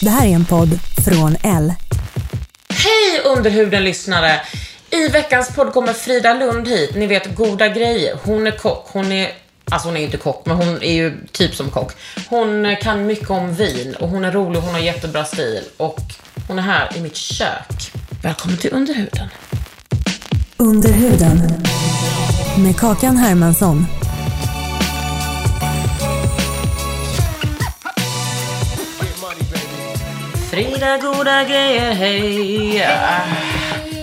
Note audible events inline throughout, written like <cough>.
Det här är en podd från L. Hej underhuden-lyssnare! I veckans podd kommer Frida Lund hit. Ni vet, goda grejer. Hon är kock. Hon är... Alltså hon är inte kock, men hon är ju typ som kock. Hon eh, kan mycket om vin och hon är rolig, hon har jättebra stil och hon är här i mitt kök. Välkommen till underhuden. Under huden. Med Kakan Hermansson. Frida goda grejer, hej! Ah,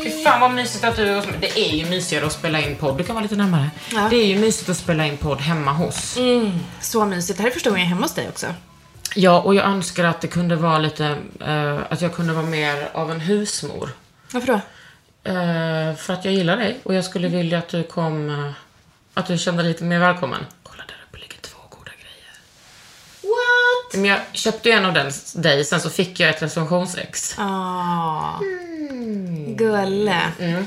Fy fan vad mysigt att du är hos mig. Det är ju mysigare att spela in podd. Du kan vara lite närmare. Ja. Det är ju mysigt att spela in podd hemma hos. Så mysigt. Det här är första gången jag är hemma hos dig också. Ja, och jag önskar att det kunde vara lite, eh, att jag kunde vara mer av en husmor. Varför då? Eh, för att jag gillar dig och jag skulle vilja att du kom, eh, att du kände dig lite mer välkommen. Kolla där uppe ligger två goda grejer. What? Men jag köpte ju en av den s- dig, sen så fick jag ett recensionsex. Ah. Gulle.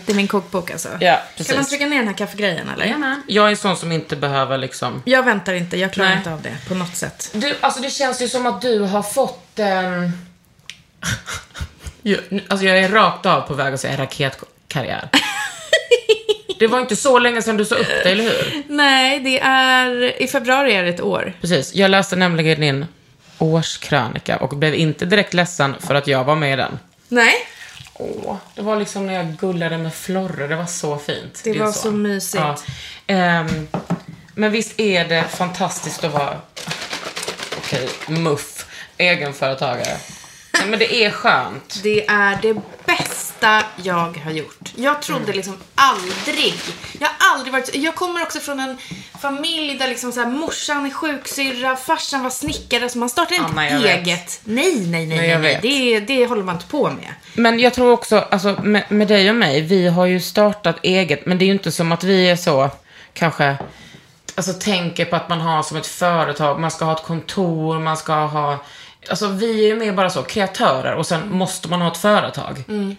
Det är min kokbok alltså. Hmm. Mm. Ja, Kan man precis. trycka ner den här kaffegrejen eller? Jajamän. Jag är sån som inte behöver liksom... Jag väntar inte. Jag klarar Nej. inte av det på något sätt. Du, alltså det känns ju som att du har fått... ehm, ju- nu- alltså <laughs> jag är rakt av på väg att säga <laughs> raketkarriär. Det var inte så länge sedan du sa upp dig, eller hur? Nej, det är... I februari är det ett år. Precis. Jag läste nämligen din årskrönika och blev inte direkt ledsen för att jag var med i den. Nej, Åh, det var liksom när jag gullade med Florre, det var så fint. Det din var son. så mysigt. Ehm, men visst är det fantastiskt att vara, okej, muff, egenföretagare. Nej, men det är skönt. det är det bästa jag har gjort. Jag trodde Mm. liksom aldrig... Jag har aldrig varit... Jag kommer också från en familj där liksom så här, morsan är sjuksyrra, farsan var snickare, så man startar inte Anna, jag vet. eget. Nej, nej, nej, Nej, jag nej, nej. vet. Det, det håller man inte på med. Men jag tror också, alltså, med, med dig och mig, vi har ju startat eget, men det är ju inte som att vi är så, kanske, alltså tänker på att man har som ett företag, man ska ha ett kontor, man ska ha, alltså vi är ju mer bara så, kreatörer och sen måste man ha ett företag. Mm.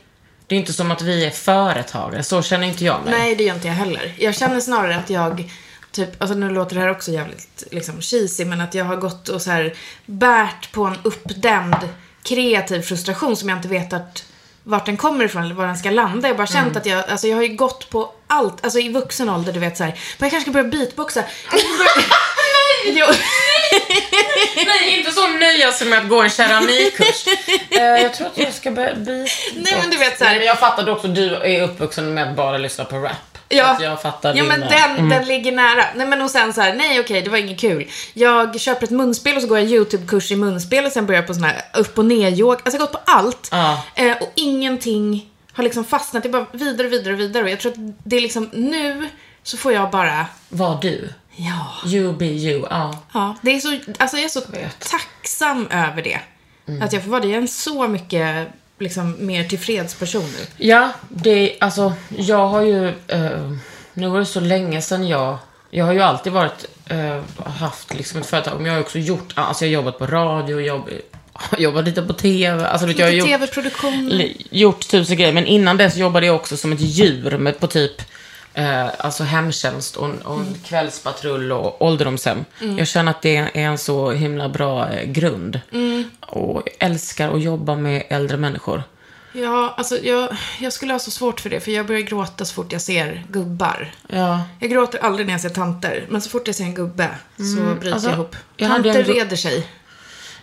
Det är inte som att vi är företagare, så känner inte jag mig. Nej, det gör inte jag heller. Jag känner snarare att jag, typ, alltså nu låter det här också jävligt liksom cheesy, men att jag har gått och så här bärt på en uppdämd kreativ frustration som jag inte vet att vart den kommer ifrån eller var den ska landa. Jag har bara känt att jag, alltså jag har ju gått på allt, alltså i vuxen ålder du vet så här, men jag kanske ska börja beatboxa. Jag ska börja- Jo. Nej, <laughs> inte så nöja som med att gå en <laughs> keramikkurs. Eh, jag tror att jag ska börja bli... Nej, men du vet så här- Nej, men jag fattade också, du är uppvuxen med att bara lyssna på rap. Så Ja, Att jag fattar ja din, men eh, den, den ligger nära. Nej men och sen så här, nej okej det var inget kul. Jag köper ett munspel och så går jag YouTube-kurs i munspel och sen börjar jag på sån här upp och ner-yoga. Alltså jag har gått på allt. Ja. Eh, och ingenting har liksom fastnat. Det är bara vidare och vidare och vidare. Och jag tror att det är liksom nu så får jag bara, Var du. ja. You be you. Ja. Ja, det är så, alltså jag är så tacksam över det. Mm. Att jag får vara det. Jag är en så mycket liksom, mer tillfreds person nu. Ja, det alltså jag har ju, eh, nu var det så länge sedan jag, jag har ju alltid varit, eh, haft liksom ett företag, men jag har ju också gjort, alltså jag har jobbat på radio, jobb, jobbat <laughs> lite på TV, alltså vet, jag har Lite gjort, TV-produktion. li- gjort tusen grejer, men innan dess jobbade jag också som ett djur med, på typ eh, alltså hemtjänst och, en- och en kvällspatrull och ålderdomshem. Jag känner att det är en så himla bra eh, grund. Och jag älskar att jobba med äldre människor. Ja, alltså jag, jag skulle ha så svårt för det, för jag börjar gråta så fort jag ser gubbar. Ja. Jag gråter aldrig när jag ser tanter, men så fort jag ser en gubbe så bryter alltså, Mm, jag ihop. jag hade tanter en gu- reder sig.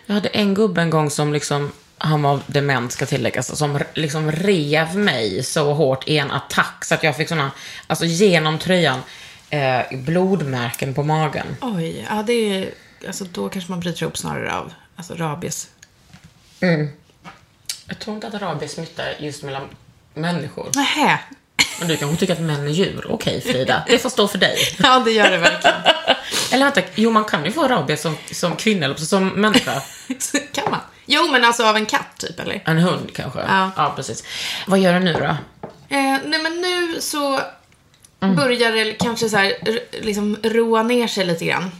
Jag hade en gubbe en gång som liksom, han var dement ska tilläggas, som r- liksom rev mig så hårt i en attack så att jag fick sådana, alltså genom tröjan, eh, blodmärken på magen. Oj, ja det är Alltså då kanske man bryter ihop snarare av alltså, rabies. Jag tror inte att rabies smittar just mellan människor. Nähä. <laughs> Men du kanske tycker att män är djur. Okej Frida, det får stå för dig. Ja, det gör det verkligen. Eller vänta, jo man kan ju få rabies som, som kvinna eller som människa. Så <laughs> kan man? Jo, men alltså av en katt typ, eller? En hund kanske. Ja. precis. Vad gör du nu då? Eh, nej, men nu så börjar det kanske så här, r- liksom roa ner sig lite grann.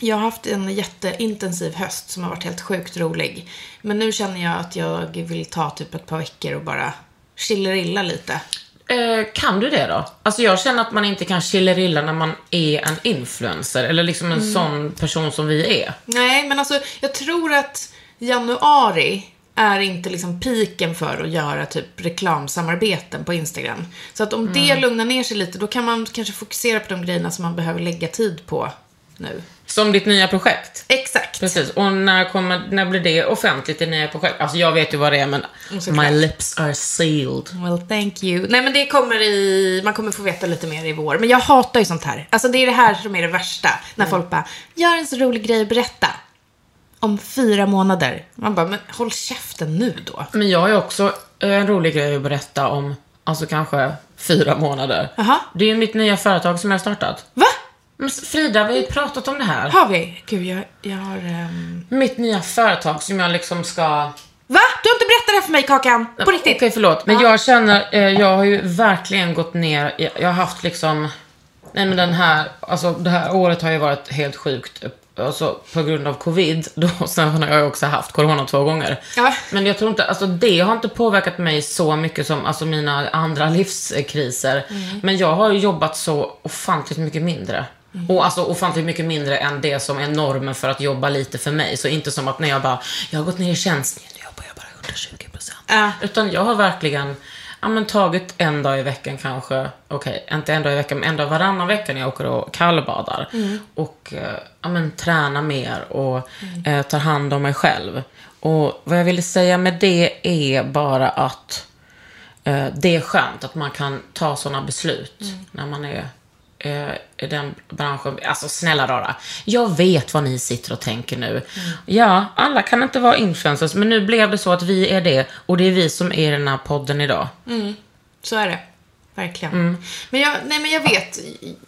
Jag har haft en jätteintensiv höst som har varit helt sjukt rolig. Men nu känner jag att jag vill ta typ ett par veckor och bara chillerilla lite. Eh, kan du det då? Alltså jag känner att man inte kan chillerilla när man är en influencer. Eller liksom en sån person som vi är. Nej, men alltså jag tror att januari är inte liksom piken för att göra typ reklamsamarbeten på Instagram. Så att om det lugnar ner sig lite, då kan man kanske fokusera på de grejerna som man behöver lägga tid på nu. Som ditt nya projekt. Exakt. Precis. Och när, kommer, när blir det offentligt, det nya projekt? Alltså jag vet ju vad det är men såklart. my lips are sealed. Well, thank you. Nej, men det kommer i... Man kommer få veta lite mer i vår. Men jag hatar ju sånt här. Alltså det är det här som är det värsta. När folk bara, gör en så rolig grej, berätta. Om fyra månader. Man bara, men håll käften nu då. Men jag har ju också eh, en rolig grej att berätta om, alltså kanske fyra månader. Jaha. Det är ju mitt nya företag som jag har startat. Va? Men Frida, vi har ju pratat om det här. Har vi? Gud, jag, jag har... ehm, Mitt nya företag som jag liksom ska... Va? Du har inte berättat det här för mig, Kakan? På riktigt? Okej, förlåt. Men jag känner, eh, jag har ju verkligen gått ner, jag, jag har haft liksom, nej men den här, alltså det här året har ju varit helt sjukt. eh, Alltså på grund av covid, <laughs> då, sen har jag ju också haft corona två gånger. Ja. Men jag tror inte, alltså det har inte påverkat mig så mycket som alltså mina andra <laughs> livskriser. Mm. Men jag har ju jobbat så ofantligt mycket mindre. Mm. Och alltså ofantligt mycket mindre än det som är normen för att jobba lite för mig. Så inte som att när jag bara, jag har gått ner i tjänst, nu jobbar jag bara 120 procent. Ja. Utan jag har verkligen ja, men, tagit en dag i veckan kanske, okej, inte en dag i veckan, men en dag varannan vecka när jag åker och kallbadar. Och eh, ja, men, tränar mer och eh, tar hand om mig själv. Och vad jag ville säga med det är bara att eh, det är skönt att man kan ta sådana beslut när man är eh, i den branschen. Alltså snälla rara, jag vet vad ni sitter och tänker nu. Ja, alla kan inte vara influencers, men nu blev det så att vi är det och det är vi som är den här podden idag. Så är det. Verkligen. Men jag, nej men jag vet.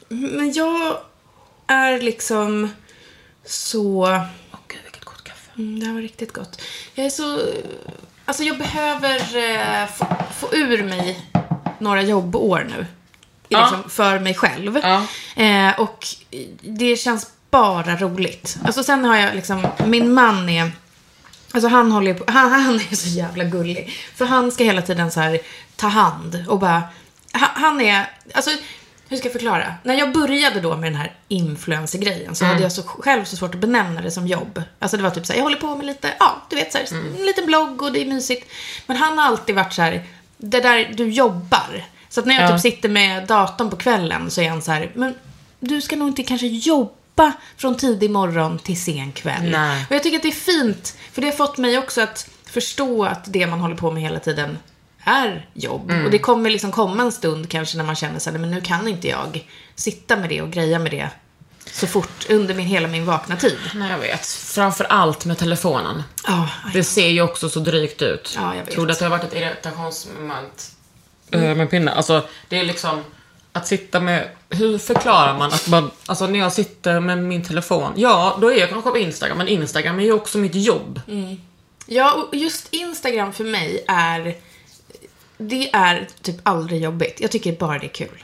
Men jag är liksom så... Åh gud, vilket gott kaffe. Mm, det här var riktigt gott. Jag är så... Alltså jag behöver eh, få, få ur mig några jobbår nu. Ja. Liksom, för mig själv. Ja. Eh, och det känns bara roligt. Alltså sen har jag liksom, min man är... Alltså han håller ju på, han, han är så jävla gullig. För han ska hela tiden så här ta hand och bara, han, han är, alltså hur ska jag förklara? När jag började då med den här influencer-grejen så hade jag så, själv så svårt att benämna det som jobb. Alltså det var typ så här, jag håller på med lite, ja du vet så här, en liten blogg och det är mysigt. Men han har alltid varit så här, det där du jobbar. Så att när jag Ja. typ sitter med datorn på kvällen så är han så här, men du ska nog inte kanske jobba från tidig morgon till sen kväll. Nej. Och jag tycker att det är fint, för det har fått mig också att förstå att det man håller på med hela tiden är jobb. Och det kommer liksom komma en stund kanske när man känner sig men nu kan inte jag sitta med det och greja med det så fort under min, hela min vakna tid. Nej, jag vet. Framför allt med telefonen. Ja, Det ser ju också så drygt ut. Ja, jag vet. Tror du att det har varit ett irritationsmoment eh, med pinne? Alltså, det är liksom att sitta med... Hur förklarar man att man... Alltså när jag sitter med min telefon. Ja, då är jag kanske på Instagram, men Instagram är ju också mitt jobb. ja, och just Instagram för mig är, det är typ aldrig jobbigt. Jag tycker bara det är kul.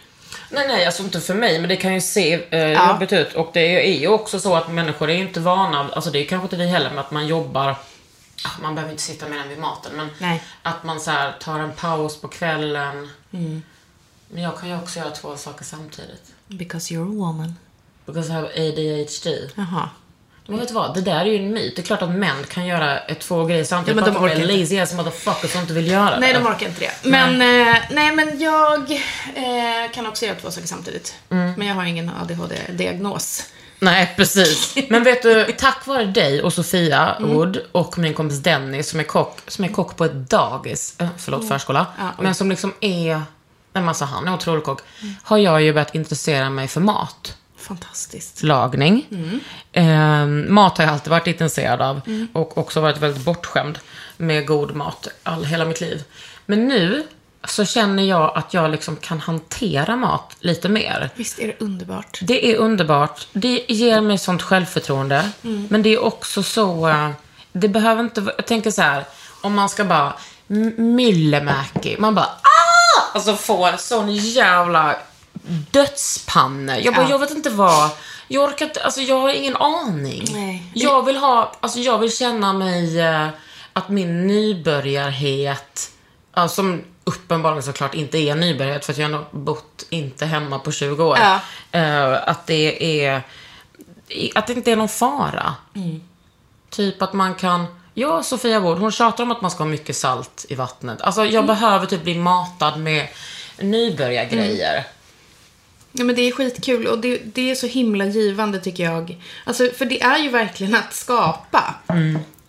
Nej, nej, alltså inte för mig, men det kan ju se eh, Ja. jobbigt ut. Och det är ju också så att människor är ju inte vana, alltså det är kanske inte vi heller, med att man jobbar Ah, man behöver inte sitta med den vid maten, men Nej. att man så här, tar en paus på kvällen. Mm. Men jag kan ju också göra två saker samtidigt. Because you're a woman. Because I have ADHD. Jaha. Men vet du vad, det där är ju en myt. Det är klart att män kan göra ett, två grejer samtidigt. Ja, men de bara att de orkar är lazy ass motherfuckers som inte vill göra Nej, det. de orkar inte det. Men, nej. Eh, nej, men jag eh, kan också göra två saker samtidigt. Men jag har ingen ADHD-diagnos. Nej, <laughs> precis. Men vet du, tack vare dig och Sofia Mm. Wood och min kompis Dennis som är kock, som är kock på ett dagis, eh, förlåt förskola, Mm. Ja, oj. Mm. men som liksom är, nej massa han är otrolig kock, har jag ju börjat intressera mig för mat Fantastiskt. matlagning. Mm. Eh, mat har jag alltid varit intresserad av och också varit väldigt bortskämd med god mat all, hela mitt liv. Men nu så känner jag att jag liksom kan hantera mat lite mer. Visst är det underbart? Det är underbart. Det ger mig sånt självförtroende. Mm. Men det är också så... eh, Det behöver inte... vara- Jag tänker så här, om man ska bara... m- Myllemäki. Man bara... Ah! Alltså får sån jävla dödspanne. Jag bara, Ja. jag vet inte vad... Jag orkar inte... Alltså jag har ingen aning. Nej. Jag vill ha... Alltså jag vill känna mig... eh, Att min nybörjarhet... ja, som uppenbarligen såklart inte är nybörjarhet för att jag har nog bott inte hemma på 20 år. Ja. Eh, att det är... i- Att det inte är någon fara. Typ att man kan... Ja, Sofia Wood, hon tjatar om att man ska ha mycket salt i vattnet. Alltså, jag behöver typ bli matad med nybörjargrejer. Ja, men det är skitkul och det, det är så himla givande tycker jag. Alltså, för det är ju verkligen att skapa.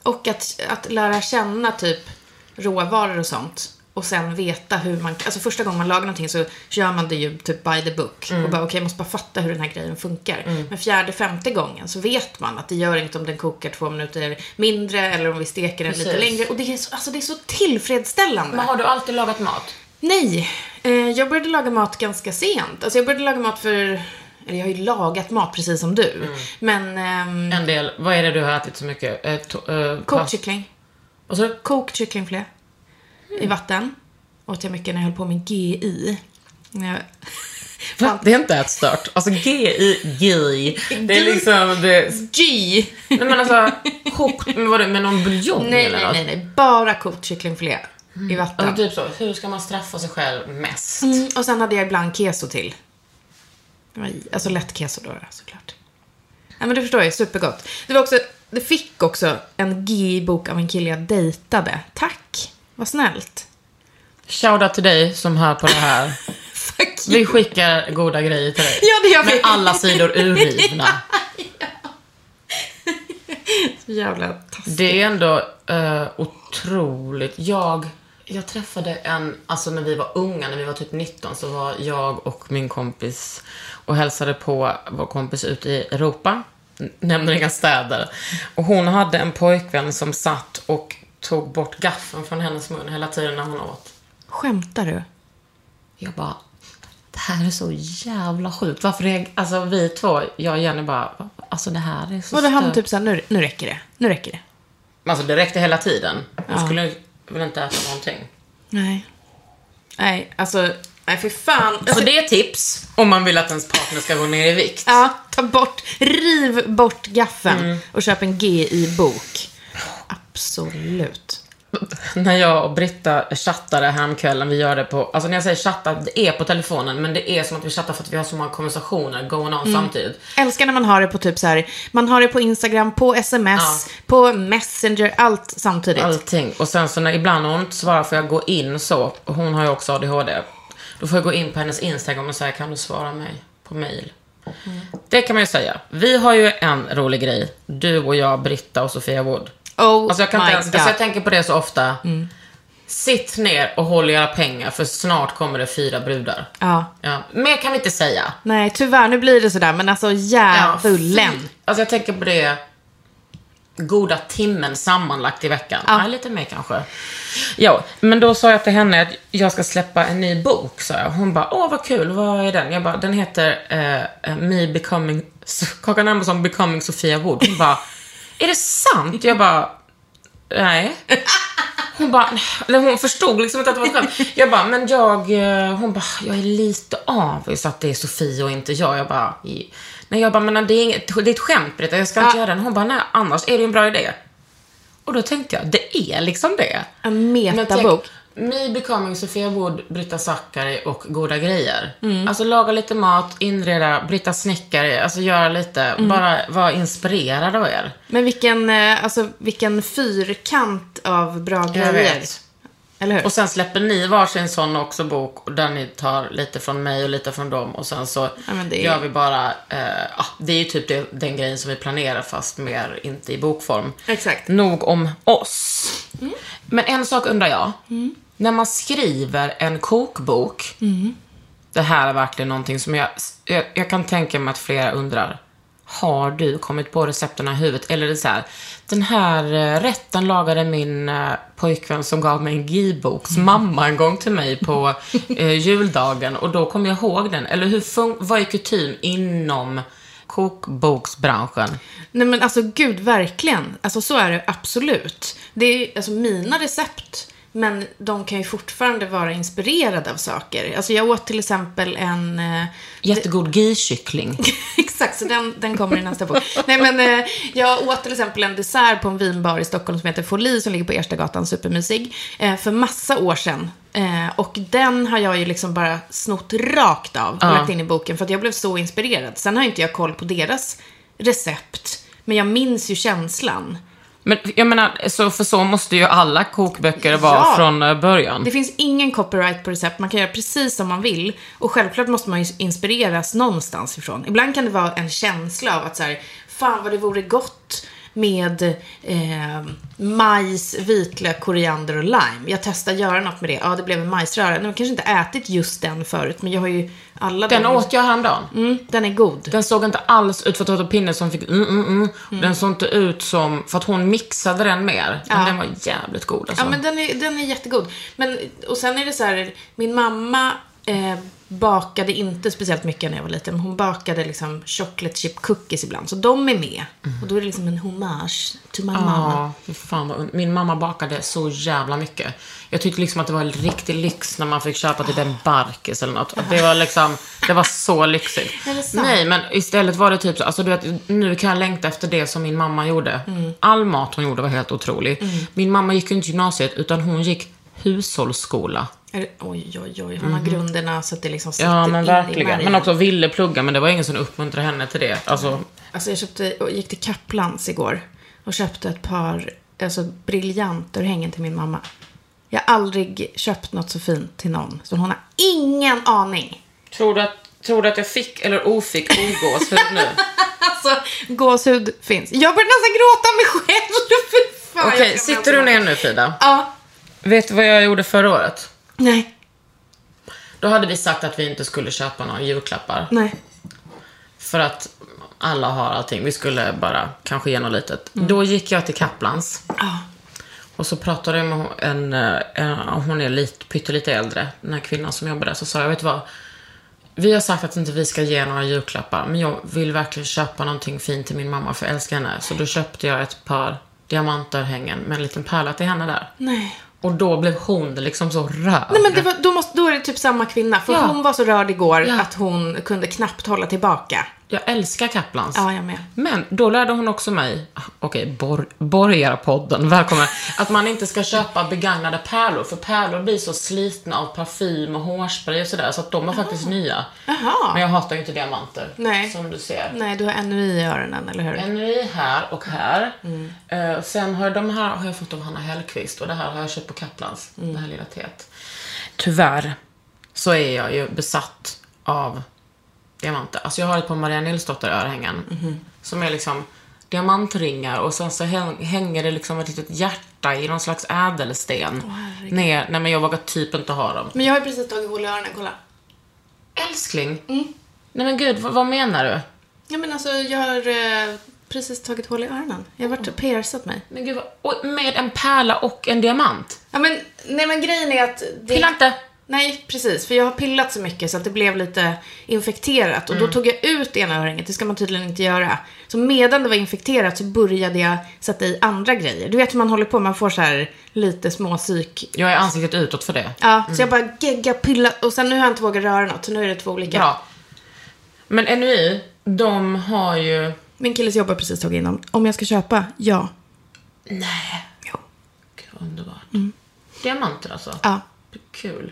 Och att, att lära känna typ råvaror och sånt. Och sen veta hur man, alltså första gången man lagar någonting så gör man det ju typ by the book. Och bara okej, jag måste bara fatta hur den här grejen funkar. Men fjärde, femte gången så vet man att det gör inget om den kokar två minuter mindre eller om vi steker den lite Precis. längre. Och det är så, alltså det är så tillfredsställande. Men har du alltid lagat mat? Nej, eh, jag började laga mat ganska sent. Alltså jag började laga mat för, eller jag har ju lagat mat precis som du. Men ehm, En del. Vad är det du har ätit så mycket? Eh, to- eh, kokt past- kyckling, Och så, kokt kycklingfilé i vatten. Åt jag mycket när jag höll på med GI. När jag- Va? Det är inte ätstört. Alltså GI, GI. Det är liksom... Det, G! Nej men alltså, kokt med, vad det, med någon buljong Nej, eller nej, något? nej, nej. Bara kokt kycklingfilé i vatten. Alltså, typ så, hur ska man straffa sig själv mest? Mm, och sen hade jag ibland keso till. Det var i- Alltså lätt keso då såklart. Ja men du förstår ju, supergott. Det var också, det fick också en GI-bok av en kille jag dejtade. Tack, vad snällt. Shoutout till dig som hör på det här. Fuck you. <laughs> Vi skickar goda grejer till dig. Ja, det gör vi. Med alla sidor urrivna. Jävla taskigt. Det är ändå eh, otroligt. Jag, jag träffade en, alltså när vi var unga, när vi var typ 19, så var jag och min kompis och hälsade på vår kompis ute i Europa. N- Nämner inga städer. Och hon hade en pojkvän som satt och tog bort gaffeln från hennes mun hela tiden när hon åt. Skämtar du? Jag bara, det här är så jävla sjukt. Varför reagerar... Alltså vi två, jag och Jenny bara, alltså det här är så Vadå, han stört. typ såhär, nu, nu räcker det, nu räcker det. Alltså det räckte hela tiden. Jag skulle väl inte äta någonting. Nej. Nej, alltså, nej för fan. Alltså, Så Alltså, det är tips om man vill att ens partner ska gå ner i vikt. Ja, ta bort, riv bort gaffeln och köp en GI-bok. Absolut. När jag och Britta chattade häromkvällen, vi gör det på, alltså när jag säger chatta, det är på telefonen men det är som att vi chattar för att vi har så många konversationer going on samtidigt. Älskar när man har det på typ så här, man har det på Instagram, på sms, på messenger, allt samtidigt. Allting. Och sen så när ibland när hon inte svarar får jag gå in så, och hon har ju också ADHD. Då får jag gå in på hennes Instagram och säga kan du svara mig på mail? Det kan man ju säga. Vi har ju en rolig grej, du och jag, Britta och Sofia Wood. Oh Alltså jag kan my inte ens, god. Mm. alltså jag tänker på det så ofta. Sitt ner och håll era pengar för snart kommer det fyra brudar. Ja. Ja. Mer kan vi inte säga. Nej, tyvärr, nu blir det sådär, men alltså djävulen. fy- Alltså jag tänker på det goda timmen sammanlagt i veckan. Ja. lite mer kanske. Ja, men då sa jag till henne att jag ska släppa en ny bok, sa jag. Hon bara, åh vad kul, vad är den? Jag bara, den heter eh, Me Becoming, Kakan Hermansson Becoming Sofia Wood. Hon bara, är det sant? Jag bara, nej. Hon bara, eller hon förstod liksom inte att det var ett skämt. Jag bara, men jag, eh, hon bara, jag är lite avis att det är Sofia och inte jag. Jag bara, i- nej jag bara, men det är, inget, det är ett skämt Britta, jag ska inte göra den. Hon bara, nej annars är det ju en bra idé. Och då tänkte jag, det är liksom det. En Men tänk, metabok. Me Becoming, Sofia Wood, Britta Zackari och Goda Grejer. Alltså laga lite mat, inreda, Britta Snickare, alltså göra lite, bara vara inspirerad av er. Men vilken, eh, alltså, vilken fyrkant av bra Jag grejer. vet. Eller hur? Och sen släpper ni varsin sån också bok och där ni tar lite från mig och lite från dem och sen så Ja, men det är- gör vi bara, eh, ja, det är ju typ det, den grejen som vi planerar fast mer inte i bokform. Exakt. Mm. Nog om oss. Men en sak undrar jag. När man skriver en kokbok, det här är verkligen någonting som jag, jag, jag kan tänka mig att flera undrar. Har du kommit på recepten i huvudet? Eller är det så här, den här eh, rätten lagade min eh, pojkvän som gav mig en gibboks Mm. mamma en gång till mig <laughs> på eh, juldagen och då kom jag ihåg den. Eller hur fun- vad är kutym inom kokboksbranschen? Nej men alltså gud, verkligen. Alltså så är det absolut. Det är ju alltså, mina recept, men de kan ju fortfarande vara inspirerade av saker. Alltså jag åt till exempel en... eh, Jättegod ghee-kyckling. <laughs> Exakt, så den, den kommer i nästa bok. Nej, men, eh, jag åt till exempel en dessert på en vinbar i Stockholm som heter Folie som ligger på Erstagatan, supermysig, eh, för massa år sedan. Eh, och den har jag ju liksom bara snott rakt av och Ja. lagt in i boken för att jag blev så inspirerad. Sen har inte jag koll på deras recept, men jag minns ju känslan. Men jag menar, så för så måste ju alla kokböcker vara Ja. från eh, början. Det finns ingen copyright på recept, man kan göra precis som man vill. Och självklart måste man ju inspireras någonstans ifrån. Ibland kan det vara en känsla av att så här, fan vad det vore gott med eh, majs, vitlök, koriander och lime. Jag testar göra något med det. Ja, det blev en majsröra. Nu har jag kanske inte ätit just den förut, men jag har ju alla Den de- åt jag häromdagen. Mm, den är god. Den såg inte alls ut för att det var pinne som fick mm, mm, mm. Den såg inte ut som, för att hon mixade den mer. Men den var jävligt god alltså. Ja, men den är, den är jättegod. Men, och sen är det så här, min mamma eh, bakade inte speciellt mycket när jag var liten. Men hon bakade liksom chocolate chip cookies ibland. Så de är med. Och då är det liksom en hommage till my mamma. Mm. Ja, fy fan vad, und- min mamma bakade så jävla mycket. Jag tyckte liksom att det var en riktig lyx när man fick köpa typ en barkis eller något. Att det var liksom, det var så lyxigt. Är det sant? Nej, men istället var det typ så, alltså du vet, nu kan jag längta efter det som min mamma gjorde. Mm. All mat hon gjorde var helt otrolig. Min mamma gick ju inte gymnasiet, utan hon gick hushållsskola. Är det, oj, oj, oj. Hon har grunderna så att det liksom sitter Mm-hmm. Ja, men in i verkligen. märgen. Men också ville plugga, men det var ingen som uppmuntrade henne till det. Alltså, Alltså jag köpte, och gick till Kaplans igår och köpte ett par alltså, briljantörhängen till min mamma. Jag har aldrig köpt något så fint till någon. Så hon har ingen aning. tror, du att, tror du att jag fick eller ofick ogåshud <laughs> nu? <laughs> Alltså, gåshud finns. Jag börjar nästan gråta mig själv. <laughs> Fy fan, Okej, jag ska sitter du börja- ner nu Frida? Ja. Vet du vad jag gjorde förra året? Nej. Då hade vi sagt att vi inte skulle köpa några julklappar. Nej. För att alla har allting. Vi skulle bara kanske ge något litet. Då gick jag till Kaplans. Ja. Och så pratade jag med en, eh, en hon är lite, pyttelite äldre, den här kvinnan som jobbar där. Så sa jag, vet du vad? Vi har sagt att inte vi ska ge några julklappar, men jag vill verkligen köpa någonting fint till min mamma för jag älskar henne. Så då köpte jag ett par diamantörhängen med en liten pärla till henne där. Nej. Och då blev hon liksom så rörd. Nej men det var, då, måste, då är det typ samma kvinna. För Ja. hon var så rörd igår Ja. att hon kunde knappt hålla tillbaka. Jag älskar Kaplans. Ja, jag med. Men då lärde hon också mig, okej, bor, Borgarpodden, välkommen, att man inte ska köpa begagnade pärlor, för pärlor blir så slitna av parfym och hårspray och sådär, så att de är faktiskt nya. Ah, Jaha. Men jag hatar ju inte diamanter, Nej. som du ser. Nej, du har NUI i öronen, eller hur? En ny här och här. Mm. Eh, sen har jag, de här har jag fått av Hanna Hellquist och det här har jag köpt på Kaplans, Mm. det här lilla teet. Tyvärr så är jag ju besatt av diamanter. Alltså jag har ett par Maria Nilsdotter örhängen. Som är liksom diamantringar och sen så häng- hänger det liksom ett litet hjärta i någon slags ädelsten. ner. Nej men jag vågar typ inte ha dem. Men jag har ju precis tagit hål i öronen, kolla. Älskling! Nej men gud, vad, vad menar du? Ja men alltså, jag har eh, precis tagit hål i öronen. Jag har varit Mm. och piercat mig. Men gud, vad, och med en pärla och en diamant. Ja men, nej men grejen är att... det- Pilla inte! Nej, precis. För jag har pillat så mycket så att det blev lite infekterat. Och då Mm. tog jag ut ena öringet, det ska man tydligen inte göra. Så medan det var infekterat så började jag sätta i andra grejer. Du vet hur man håller på, man får så här lite små psyk... Jag är ansiktet utåt för det. Ja, så jag bara gegga, pilla och sen nu har jag inte vågat röra något, så nu är det två olika. Bra. Men NUI, de har ju... Min killes jobb har precis tagit in dem. Om jag ska köpa? Ja. Gud, vad underbart. Diamanter alltså. Ja. Kul.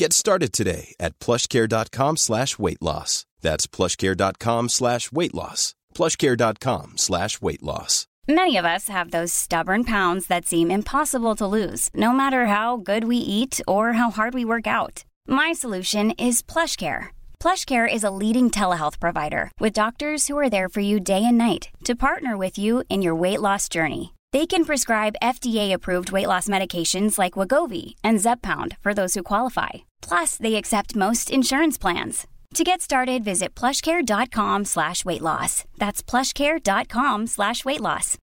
Get started today at plushcare.com slash weight loss. That's plushcare.com slash weight loss. plushcare.com slash weight loss. Many of us have those stubborn pounds that seem impossible to lose, no matter how good we eat or how hard we work out. My solution is PlushCare. PlushCare is a leading telehealth provider with doctors who are there for you day and night to partner with you in your weight loss journey. They can prescribe FDA-approved weight loss medications like Wagovi and Zepbound for those who qualify. Plus, they accept most insurance plans. To get started, visit plushcare.com slash weight loss. That's plushcare.com slash weight loss.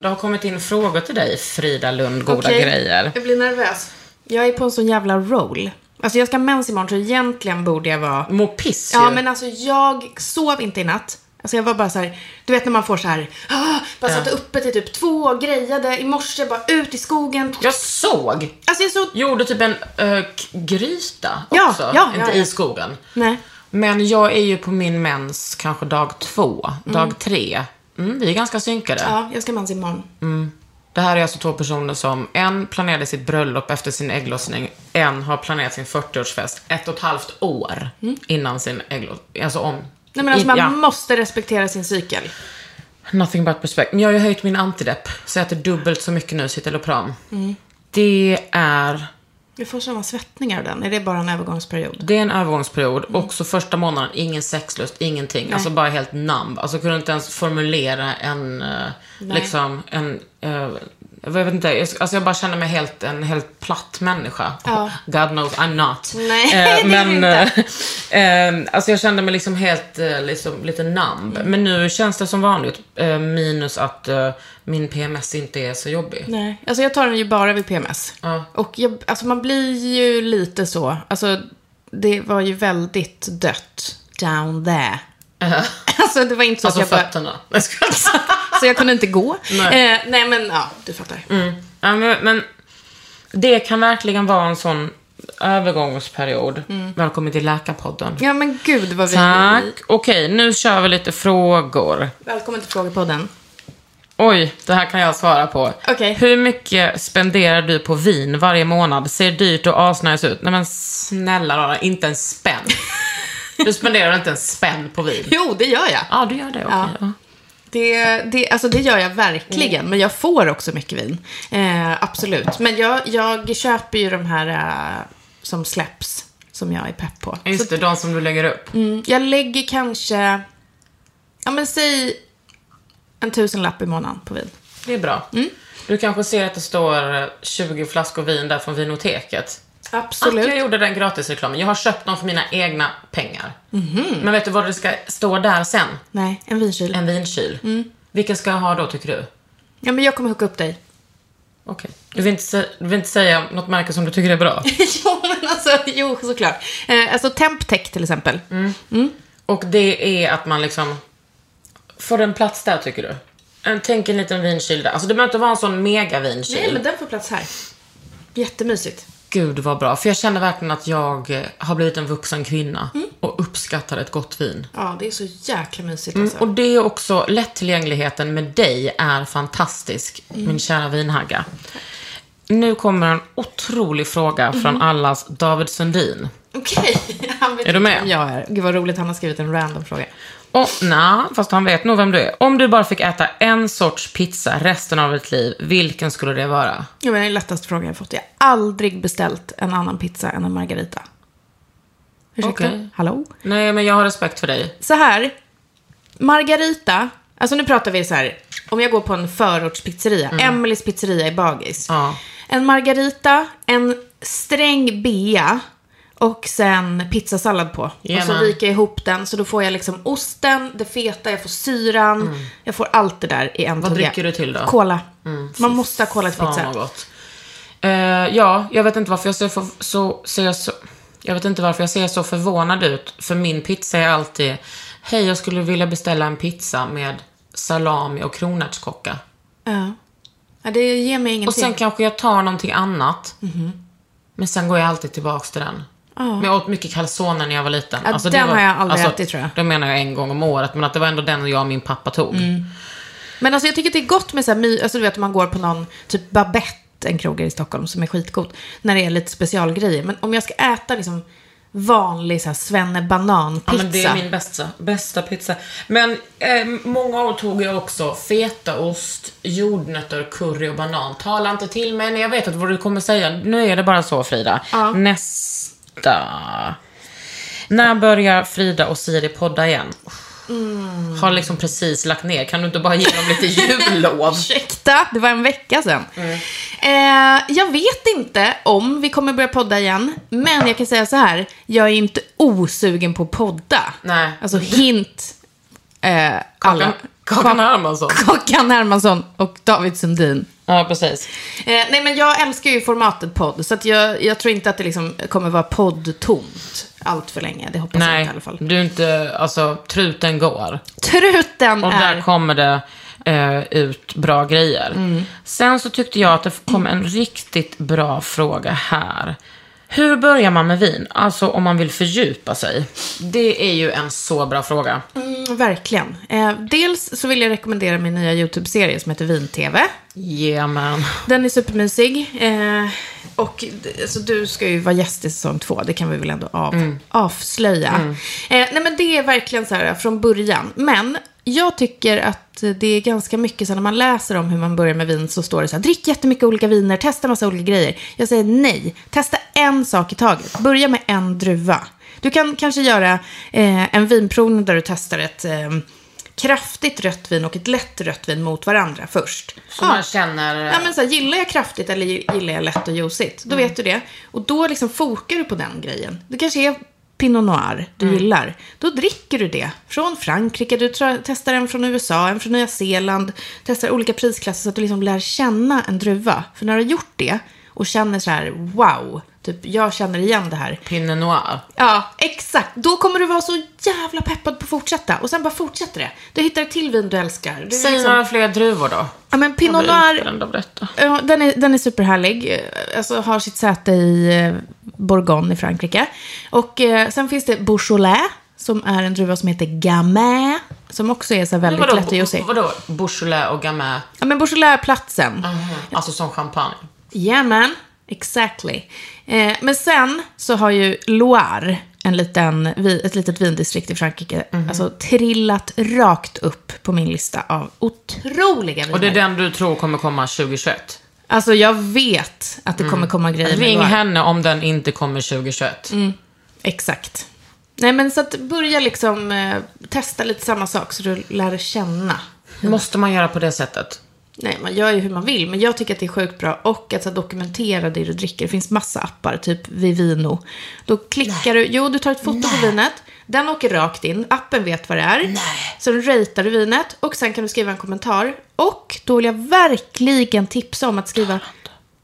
Det har kommit in frågor till dig, Frida Lund, goda Okej, grejer. Jag blir nervös. Jag är på en sån jävla roll. Alltså jag ska ha mens imorgon så egentligen borde jag vara... Må piss Ja ju. men alltså jag sov inte i natt. Alltså jag var bara så här, du vet när man får så här, ah, bara satt uppe till typ två, grejade i morse, bara ut i skogen. Jag såg. Alltså jag är så... Gjorde typ en ö, k- gryta Ja, också. ja, inte ja, ja. i skogen. Nej. Men jag är ju på min mens kanske dag två, dag tre. Mm, vi är ganska synkade. Ja, jag ska ha mens imorgon. Det här är alltså två personer som, en planerade sitt bröllop efter sin ägglossning, en har planerat sin 40-årsfest ett och ett halvt år innan sin ägglossning. Alltså om... Mm. Nej men alltså i- man ja. måste respektera sin cykel. Nothing but respect. Men jag har ju höjt min antidepp, så jag äter dubbelt så mycket nu, citalopram. Det är... Jag får såna svettningar av den, är det bara en övergångsperiod? Det är en övergångsperiod. Mm. Också första månaden, ingen sexlust, ingenting. Alltså bara helt numb. Alltså kunde inte ens formulera en, eh, liksom, en, eh, jag vet inte, jag, alltså jag bara känner mig helt, en helt platt människa. God knows I'm not. Nej, Eh, <laughs> det är du men, eh, eh, alltså jag kände mig liksom helt, eh, liksom lite numb. Mm. Men nu känns det som vanligt. Eh, minus att eh, min PMS inte är så jobbig. Nej, alltså jag tar den ju bara vid PMS. Ja. Och jag, alltså man blir ju lite så, alltså det var ju väldigt dött down there. Eh, Alltså det var inte så alltså att jag bara, fötterna. <laughs> Jag skojar. <laughs> så jag kunde inte gå. Nej. Eh, nej men Mm. ja, du fattar. Ja, men, men det kan verkligen vara en sån övergångsperiod. Välkommen till Läkarpodden. Mm. Ja men gud vad vi... Tack. Okej, nu kör vi lite frågor. Välkommen till Frågepodden. Oj, det här kan jag svara på. Okej. Hur mycket spenderar du på vin varje månad? Ser dyrt och asnice ut. Nej men snälla rara, inte en spänn. Du spenderar inte en spänn på <laughs> vin? Jo, det gör jag. Ja, du gör det. Okej. Ja. ja. Det, det, alltså det gör jag verkligen, men jag får också mycket vin. Eh, absolut. Men jag, jag köper ju de här eh, som släpps, som jag är pepp på. Just det, de som du lägger upp. Mm, Jag lägger kanske, ja men säg en tusenlapp i månaden på vin. Det är bra. Mm. Du kanske ser att det står eh, 20 flaskor vin där från vinoteket. Absolut. Att jag gjorde den gratisreklamen. Jag har köpt dem för mina egna pengar. Mhm. Men vet du vad det ska stå där sen? Nej, en vinkyl. En vinkyl. Mm. Vilken ska jag ha då tycker du? Ja, men jag kommer hooka upp dig. Okej. Du, vill inte sä- du vill inte säga något märke som du tycker är bra? <laughs> jo, men alltså, jo, såklart. Eh, alltså Temptech till exempel. Mm. Och det är att man liksom får en plats där tycker du? En, tänk en liten vinkyl där. Alltså det behöver inte vara en sån mega vinkyl. Nej, men den får plats här. Jättemysigt. Gud vad bra. För jag känner verkligen att jag eh, har blivit en vuxen kvinna Mm. och uppskattar ett gott vin. Ja, det är så jäkla mysigt Mm, alltså. Och det är också lättillgängligheten med dig är fantastisk, min kära vinhagga. Nu kommer en otrolig fråga från allas David Sundin. Okej, <laughs> han vet Är du inte med? vem Jag är. Gud vad roligt, han har skrivit en random fråga. Och nja, fast han vet nog vem du är. Om du bara fick äta en sorts pizza resten av ditt liv, vilken skulle det vara? Ja, men det är den lättaste frågan jag fått. Jag har aldrig beställt en annan pizza än en margarita. Ursäkta? Okej. Hallå? Nej, men jag har respekt för dig. Så här, margarita, alltså nu pratar vi så här, om jag går på en förortspizzeria, Emelies pizzeria i Bagis. Mm. Ja. En margarita, en sträng bea och sen pizzasallad på. Och Jajamän. så viker jag ihop den, så då får jag liksom osten, det feta, jag får syran, jag får allt det där i en Mm. Vad tugga. dricker du till då? Mm. Cola. Man måste ha cola till Fan pizza. vad gott. Eh, ja, jag vet inte varför jag ser, för, så, ser så, jag vet inte varför jag ser så förvånad ut. För min pizza är alltid, hej jag skulle vilja beställa en pizza med salami och kronärtskocka. Ja. Ja, Ja, det ger mig ingenting. Och sen kanske jag tar någonting annat. Mhm. Men sen går jag alltid tillbaks till den. Men jag åt mycket calzone när jag var liten. Alltså, Ja, det den har jag aldrig ätit, tror jag. Mm. Då menar jag en gång om året, men att det var ändå den jag och min pappa tog. Men alltså jag tycker det är gott med så här, my- alltså du vet om man går på någon, typ Babette, en krog här i Stockholm som är skitgod, när det är lite specialgrejer. Men om jag ska äta liksom vanlig så här Ja, svennebananpizza. men det är min bästa, bästa pizza. Men eh, många år tog jag också fetaost, jordnötter, curry och banan. Tala inte till mig när jag vet att vad du kommer säga. Nu är det bara så Frida. Nästa. När börjar Frida och Siri podda igen? Mm. Har liksom precis lagt ner. Kan du inte bara ge dem lite <laughs> jullov? Ursäkta, det var en vecka sedan. Mm. Eh, jag vet inte om vi kommer börja podda igen, men jag kan säga så här, jag är inte osugen på att podda. Nej. Alltså hint, eh, alla. Kakan, Kakan Hermansson. Kakan Hermansson och David Sundin. Ja, precis. Eh, nej, men jag älskar ju formatet podd, så att jag, jag tror inte att det liksom kommer vara poddtomt allt för länge. Det hoppas jag inte Nej, i alla fall. du är inte, alltså truten går. Truten Och där Mm. är... Mm. kommer det eh, ut bra grejer. Sen så tyckte jag att det kom en riktigt bra fråga här. Hur börjar man med vin? Alltså om man vill fördjupa sig. Det är ju en så bra fråga. Mm, verkligen. Eh, dels så vill jag rekommendera min nya YouTube-serie som heter Vin-TV. Yeah, man. Den är supermysig. Eh, och d- alltså, du ska ju vara gäst i säsong två, det kan vi väl ändå av, avslöja. Eh, nej men det är verkligen så här eh, från början. Men jag tycker att det är ganska mycket så här, när man läser om hur man börjar med vin så står det så här, drick jättemycket olika viner, testa massa olika grejer. Jag säger nej, testa en sak i taget, börja med en druva. Du kan kanske göra eh, en vinprovning där du testar ett eh, kraftigt rött vin och ett lätt rött vin mot varandra först. Så man känner... eh, Ja, men så här, gillar jag kraftigt eller gillar jag lätt och juicigt? Då vet du det. Och då liksom fokar du på den grejen. Det kanske är Pinot Noir du gillar. Då dricker du det. Från Frankrike, du tra- testar en från USA, en från Nya Zeeland. Testar olika prisklasser så att du liksom lär känna en druva. För när du har gjort det och känner så här, wow, typ jag känner igen det här. Pinot noir. Ja, exakt. Då kommer du vara så jävla peppad på att fortsätta. Och sen bara fortsätter det. Du hittar ett till vin du älskar. Du Säg några fler druvor då. ja, men Jag Pinot blir Noir utbränd av detta. Ja, den är, den är superhärlig. Eh, Alltså har sitt säte i eh, Bourgogne i Frankrike. Och eh, sen finns det Beaujolais, som är en druva som heter Gamay. Som också är så här väldigt lätt och juicy. vadå Beaujolais och Gamay? Ja, men Beaujolais är platsen. Alltså som champagne. Jajamän, exactly. Eh, men sen så har ju Loire, en liten, vi- ett litet vindistrikt i Frankrike, Mhm. alltså trillat rakt upp på min lista av otroliga viner. Och det är den du tror kommer komma 2021? Alltså jag vet att det Mm. kommer komma grejer med Ring Loire. henne om den inte kommer 2021. Exakt. Nej, men så att börja liksom eh, testa lite samma sak så du lär känna. Måste man göra på det sättet? Nej, man gör ju hur man vill, men jag tycker att det är sjukt bra. Och att så här, dokumentera det du dricker. Det finns massa appar, typ Vivino. Då klickar du, jo, du tar ett foto på vinet. Den åker rakt in, appen vet vad det är. Så du ratear du vinet och sen kan du skriva en kommentar. Och då vill jag verkligen tipsa om att skriva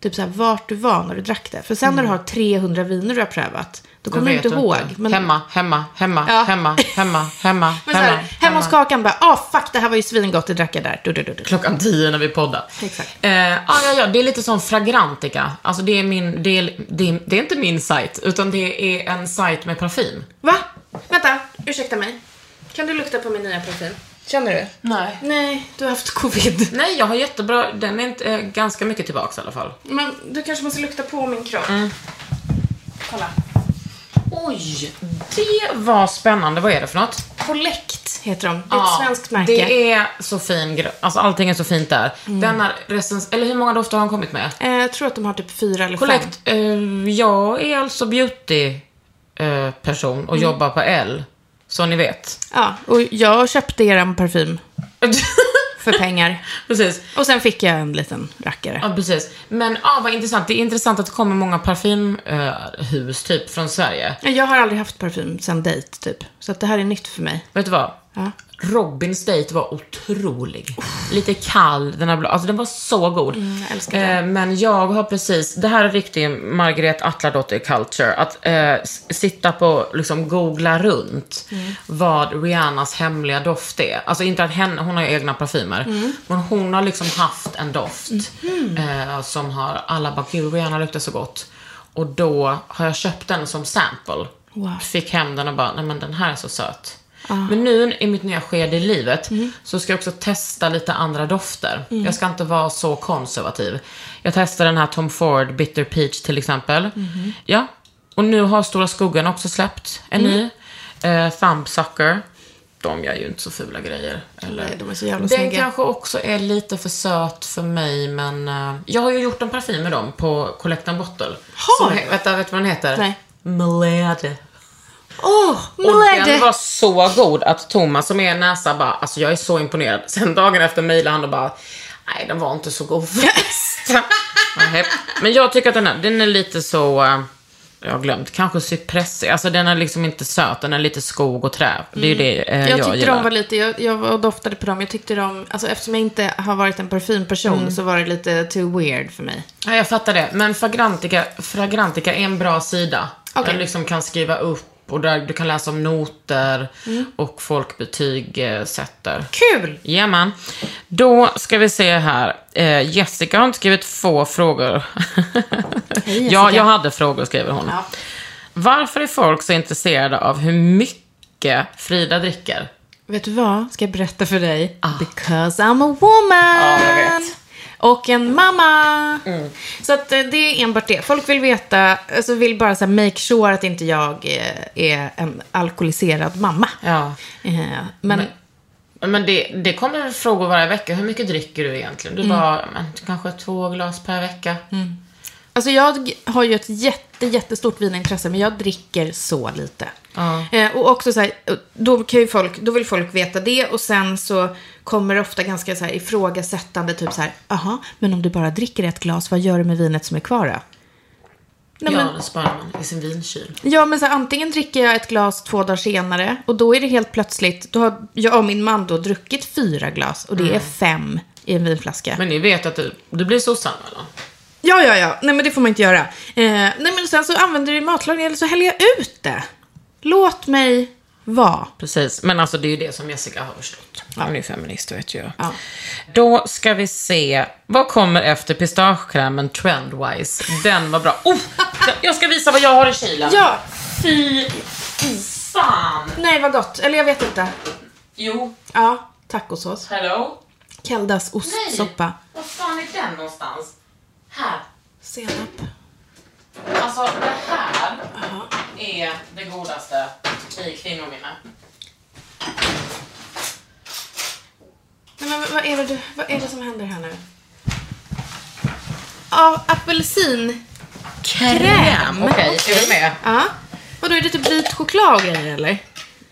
typ så här, vart du var när du drack det. För sen när du har 300 viner du har prövat, då kommer du Jag inte vet ihåg. men- Hemma, hemma, hemma, Ja. hemma, hemma, hemma, <laughs> Men hemma, så här, hemma hos Kakan bara, ah fuck det här var ju svingott, det drack jag där. Du, du, du, du. Klockan tio när vi poddar. Exakt. Eh, ja, ja, ja, det är lite som Fragrantica. Alltså det är min, det är, det är, det är inte min sajt, utan det är en sajt med parfym. Va? Vänta, ursäkta mig. Kan du lukta på min nya parfym? Känner du? Nej. Nej, du har haft covid. Nej, jag har jättebra, den är inte, eh, ganska mycket tillbaks i alla fall. Men du kanske måste lukta på min kropp. Mm. Kolla. Oj, det var spännande. Vad är det för något? Collect heter de. Det är Ja, ett svenskt märke. Mm. Det är så fin, gr- alltså allting är så fint där. Den här recens, eller hur många dofter har han kommit med? Eh, jag tror att de har typ fyra eller fem. Korrekt. Eh, jag är alltså beauty-person och jobbar på L. Så ni vet. Ja, och jag köpte eran parfym för <laughs> pengar. precis. Och sen fick jag en liten rackare. Ja, precis. Men ja, vad intressant. Det är intressant att det kommer många parfymhus typ från Sverige. Jag har aldrig haft parfym sen dejt typ. Så att det här är nytt för mig. Vet du vad? Ja. Robins dejt var otrolig. Lite kall, den här blå. Alltså den var så god. Mm, älskar den. eh, men jag har precis, det här är riktigt Margret Atladotter culture. Att eh, s- sitta på, liksom googla runt Mm. vad Rihannas hemliga doft är. Alltså inte att henne, hon har ju egna parfymer. Mm. Men hon har liksom haft en doft Mhm. eh, som har, alla bara gud Rihanna luktar så gott. Och då har jag köpt den som sample. Wow. Fick hem den och bara, nej men den här är så söt. Men nu i mitt nya skede i livet så ska jag också testa lite andra dofter. Jag ska inte vara så konservativ. Jag testar den här Tom Ford Bitter Peach till exempel. Ja, och nu har Stora Skuggan också släppt en ny. Eh, Thumbsucker. De gör ju inte så fula grejer. Eller? Nej, de är så jävla Den snygga. kanske också är lite för söt för mig, men eh, jag har ju gjort en parfym med dem på Collect and Bottle. Har Som du? he- Vänta, vet du vad den heter? Nej. Mled. Åh, Och den Mled! var så god att Thomas som är näsa bara, alltså jag är så imponerad. Sen dagen efter mejlade han och bara, nej den var inte så god förresten. Nähä. Men jag tycker att den här, den är lite så, eh, jag har glömt, kanske cypressig. Alltså den är liksom inte söt, den är lite skog och trä. Det är ju det eh, jag, Mm. Jag tyckte gillar. de var lite, jag, jag var och doftade på dem. Jag tyckte de, alltså eftersom jag inte har varit en parfymperson så var det lite too weird för mig. Ja, jag fattar det. Men Fragrantica, Fragrantica är en bra sida. Okej. Där du liksom kan skriva upp och där du kan läsa om noter och folk betyg eh, sätter. Kul! Jajamän. Då ska vi se här. Eh, Jessica har inte skrivit få frågor. <laughs> ja, jag hade frågor skriver hon. Ja. Varför är folk så intresserade av hur mycket Frida dricker? Vet du vad? Ska jag berätta för dig? Because I'm a woman! jag vet. Och en mamma! Så att eh, det är enbart det. Folk vill veta, alltså vill bara så här make sure att inte jag eh, är en alkoholiserad mamma. Ja. Eh, Men, Men det, det kommer frågor varje vecka. Hur mycket dricker du egentligen? Du bara, men, kanske två glas per vecka. alltså jag har ju ett jätte, jättestort vinintresse, men jag dricker så lite. Ja. Eh, och också så här, då, kan ju folk, då vill folk veta det och sen så kommer det ofta ganska så här ifrågasättande, typ så här, jaha, men om du bara dricker ett glas, vad gör du med vinet som är kvar då? Nej, ja, men, det sparar man i sin vinkyl. Ja, men så här, antingen dricker jag ett glas två dagar senare och då är det helt plötsligt, då har jag och min man då druckit fyra glas och det Mm. är fem i en vinflaska. Men ni vet att du, du blir sossarna eller? Ja, ja, ja, nej men det får man inte göra. Eh, nej men sen så använder du det i matlagning eller så häller jag ut det. Låt mig vara. Precis, men alltså det är ju det som Jessica har förstått. Hon är ju feminist, vet jag. Ja. Då ska vi se, vad kommer efter pistagekrämen trendwise? Den var bra. Oh, jag ska visa vad jag har i kylen. Ja, Fy fan! nej vad gott, eller jag vet inte. Jo, Ja, tacosås. hello? Keldas ostsoppa. Vad fan är den någonstans? Här. Senap. Alltså det här är det godaste i kvinnominne. Nej men vad är det, du, vad är det som händer här nu? Ja, apelsin. Kräm. Okej, är du med? Ja. Vadå, är det typ vit choklad och grejer eller?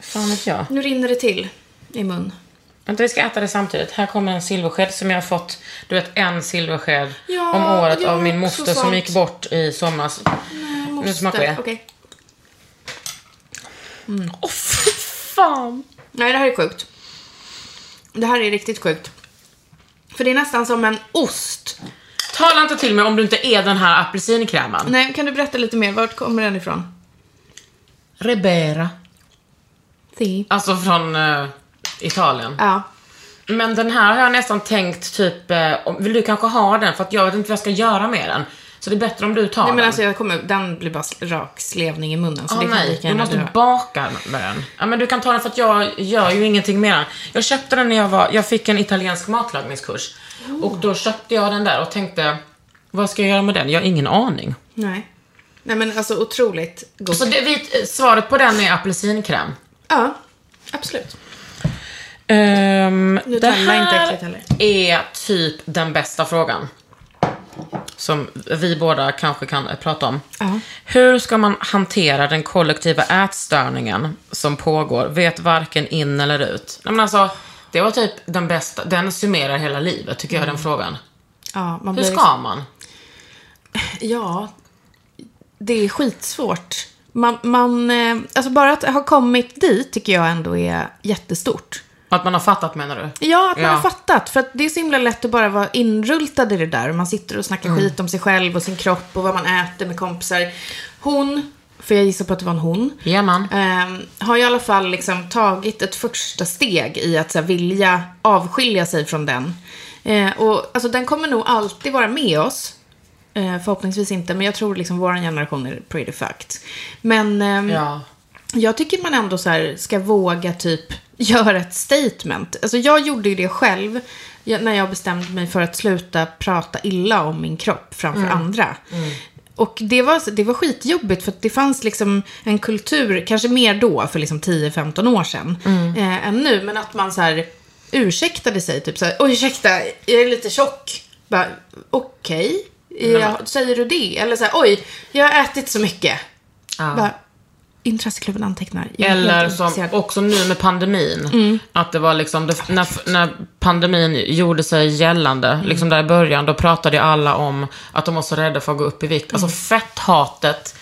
Fan vet jag. Nu rinner det till i mun. Vänta, vi ska äta det samtidigt. Här kommer en silversked som jag har fått, du vet en silversked Ja, om året jag av min har också moster som sånt. gick bort i somras. Nu smakar jag. Okej. Åh fy fan! Nej, det här är sjukt. Det här är riktigt sjukt. För det är nästan som en ost. Tala inte till mig om du inte är den här apelsinkrämen. Nej, kan du berätta lite mer? Vart kommer den ifrån? Rebera. Si. Alltså från eh, Italien. Ja. Men den här har jag nästan tänkt typ, eh, om- vill du kanske ha den? För att jag vet inte vad jag ska göra med den. Så det är bättre om du tar Nej men den. alltså jag kommer, den blir bara rak slevning i munnen. Så Ah, det kan nej, lika du gärna måste dö. baka med den. Ja, men du kan ta den för att jag gör ju ingenting med den. Jag köpte den när jag var, jag fick en italiensk matlagningskurs. Och då köpte jag den där och tänkte, vad ska jag göra med den? Jag har ingen aning. Nej. Nej men alltså otroligt god. Så det, vi, svaret på den är apelsinkräm. Ja, absolut. Um, det Nutella är inte här äckligt heller. är typ den bästa frågan. Som vi båda kanske kan eh, prata om. Ja. Hur ska man hantera den kollektiva ätstörningen som pågår? Vet varken in eller ut. Nej, men alltså, det var typ den bästa. Den summerar hela livet, tycker jag, Mm. den frågan. Ja, man Hur blir liksom- ska man? Ja, det är skitsvårt. Man, man, eh, alltså bara att ha kommit dit tycker jag ändå är jättestort. Att man har fattat menar du? Ja, att man Ja. har fattat. För att det är så himla lätt att bara vara inrultad i det där. Man sitter och Mm. snackar skit om sig själv och sin kropp och vad man äter med kompisar. Hon, för jag gissar på att det var en hon, Jajamän. ehm, har i alla fall liksom tagit ett första steg i att så här, vilja avskilja sig från den. Eh, och alltså, den kommer nog alltid vara med oss. Eh, förhoppningsvis inte, men jag tror liksom vår generation är pretty fucked. Men... ehm, Ja. jag tycker man ändå så här ska våga typ <laughs> göra ett statement. Alltså jag gjorde ju det själv jag- när jag bestämde mig för att sluta prata illa om min kropp framför andra. Och det var, det var skitjobbigt för att det fanns liksom en kultur, kanske mer då, för liksom 10-15 år sedan, eh, än nu. Men att man så här ursäktade sig, typ så här, oj ursäkta, jag är lite tjock. Bara, Okej, jag- säger du det? Eller så här, oj, jag har ätit så mycket. Bara, Intresseklubben antecknar. Jag är Eller helt Mm. som ointresserad. också nu med pandemin. Att det var liksom, det, när, när pandemin gjorde sig gällande, Mm. liksom där i början, då pratade ju alla om att de var så rädda för att gå upp i vikt. Alltså Mm. fetthatet.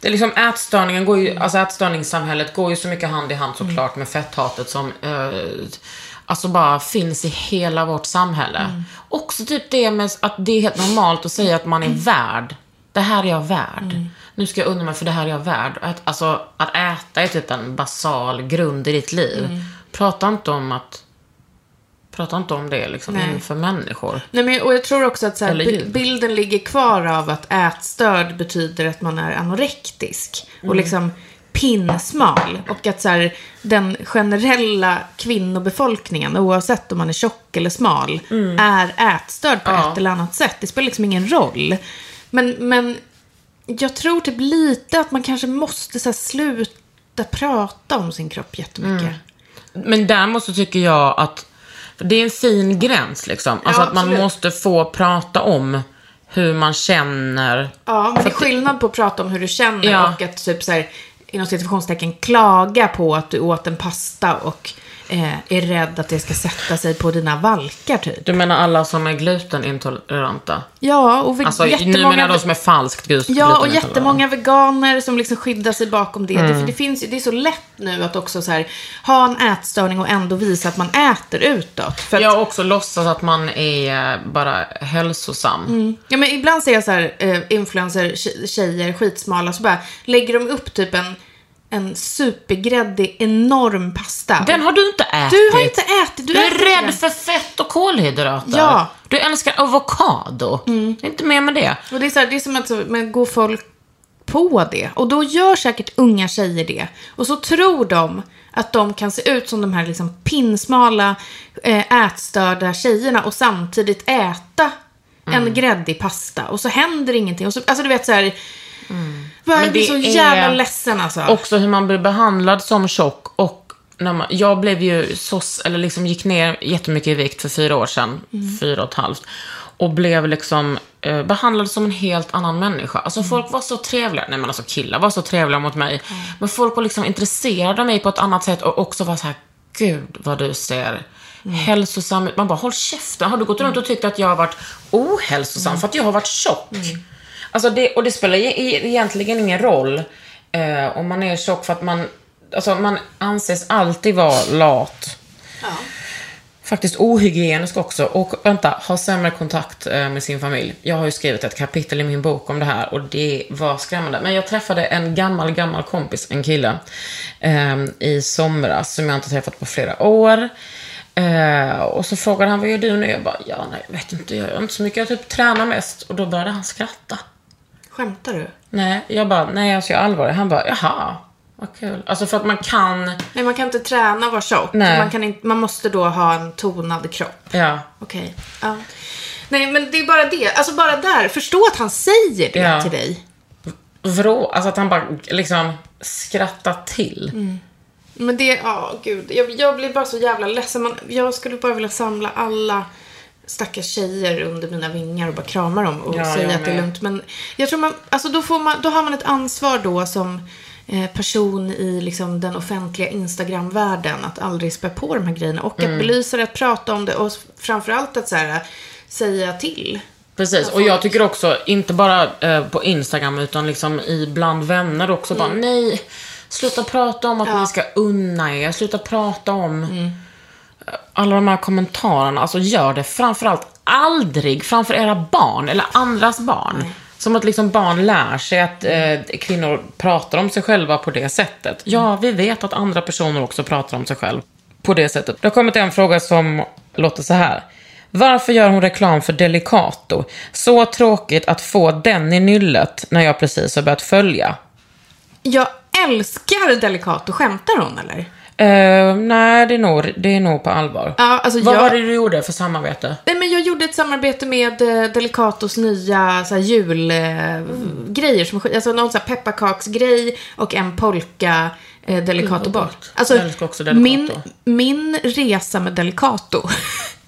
Det är liksom ätstörningen går ju, alltså ätstörningssamhället går ju så mycket hand i hand såklart Mm. med fetthatet som eh, alltså bara finns i hela vårt samhälle. Också typ det med att det är helt normalt att säga att man är värd. Det här är jag värd. Nu ska jag unna mig för det här är jag värd. Att, alltså, att äta är typ en basal grund i ditt liv. Prata inte om att Prata inte om det liksom inför människor. Nej, men, och jag tror också att så här, Eller bi- djur. bilden ligger kvar av att ätstörd betyder att man är anorektisk. Mm. Och liksom pinsmal. Och att så här, den generella kvinnobefolkningen, oavsett om man är tjock eller smal, Mm. är ätstörd på ett eller annat sätt. Det spelar liksom ingen roll. Men, men jag tror typ lite att man kanske måste så här, sluta prata om sin kropp jättemycket. Mm. Men däremot så tycker jag att för det är en fin gräns liksom. Alltså att man absolut. måste få prata om hur man känner. Ja, men det är skillnad på att prata om hur du känner Ja. och att typ så här, inom situationstecken klaga på att du åt en pasta och eh, är rädd att det ska sätta sig på dina valkar typ. Du menar alla som är glutenintoleranta? Ja, och vi, Alltså nu menar jättemånga... jag de som är falskt glu- Ja, och glutenintoleranta. jättemånga veganer som liksom skyddar sig bakom det. Mm. Det, för det, finns, ju- det är så lätt nu att också så här, ha en ätstörning och ändå visa att man äter utåt. För att, Jag också låtsas att man är eh, bara hälsosam. Ja men ibland ser jag så här eh, influencer tje- tjejer skitsmala så bara lägger de upp typ en, en supergräddig enorm pasta. Den har du inte ätit. du har inte ätit, du, Du är äter rädd det. för fett och kolhydrater. Ja. Mm. Du älskar avokado. Det är inte mer med det. Och det är, så här, det är som att så, men går folk på det? Och då gör säkert unga tjejer det. Och så tror de att de kan se ut som de här liksom pinsmala, eh, ätstörda tjejerna och samtidigt äta Mm. en gräddig pasta. Och så händer ingenting. Och så, alltså du vet så här, bara, Mm. Men jag blir det så är- jävla ledsen alltså. Också hur man blir behandlad som tjock och när man, jag blev ju soss, eller liksom gick ner jättemycket i vikt för fyra år sedan, fyra och ett halvt. Och blev liksom eh, behandlad som en helt annan människa. Alltså folk var så trevliga, nej men alltså killar var så trevliga mot mig. Men folk var liksom intresserade av mig på ett annat sätt och också var så här, gud vad du ser hälsosam ut. Man bara, håll käften, har du gått runt och tyckt att jag har varit ohälsosam för att jag har varit tjock? Alltså det, och det spelar e- e- egentligen ingen roll eh, om man är tjock för att man, alltså man anses alltid vara lat. Faktiskt ohygienisk också och vänta, ha sämre kontakt eh, med sin familj. Jag har ju skrivit ett kapitel i min bok om det här och det var skrämmande. Men jag träffade en gammal, gammal kompis, en kille, ehm, i somras som jag inte träffat på flera år. Eh, och så frågade han, vad gör du nu? Jag bara, ja, nej, jag vet inte, jag gör inte så mycket, jag typ tränar mest. Och då började han skratta. Skämtar du? Nej, jag bara, nej alltså jag är allvarlig. Han bara, jaha, vad kul. Alltså för att man kan, Nej, man kan inte träna och vara tjock. Nej. Man, kan inte, man måste då ha en tonad kropp. ja. Okej. Ja. Nej, men det är bara det. Alltså bara där. Förstå att han säger det Ja. till dig. Vrå, alltså att han bara liksom skrattar till. Men det, ja gud. Jag, jag blir bara så jävla ledsen. Man, jag skulle bara vilja samla alla stackars tjejer under mina vingar och bara krama dem och Ja, säga jag att det är med. lugnt. Men jag tror man, alltså då, får man, då har man ett ansvar då som eh, person i liksom den offentliga Instagram-världen att aldrig spä på de här grejerna och Mm. att belysa det, att prata om det och framförallt att så här, säga till. Precis, och jag tycker också, inte bara eh, på Instagram utan liksom i bland vänner också bara, nej, sluta prata om att ni ska unna er, sluta prata om alla de här kommentarerna, alltså gör det framförallt aldrig framför era barn eller andras barn. Som att liksom barn lär sig att eh, kvinnor pratar om sig själva på det sättet. Ja, Mm. vi vet att andra personer också pratar om sig själv på det sättet. Det har kommit en fråga som låter så här. Varför gör hon reklam för Delicato? Så tråkigt att få den i nyllet när jag precis har börjat följa. Jag älskar Delicato. Skämtar hon eller? Eh, nej, det är, nog, det är nog på allvar. Ja, alltså Vad jag- var det du gjorde för samarbete? Nej, men jag gjorde ett samarbete med eh, Delicatos nya så här, julgrejer. Som, alltså någon så här pepparkaksgrej och en polka eh, Delicato vad bort. gott. Alltså, Jag älskar också Delicato. Min, min resa med Delicato.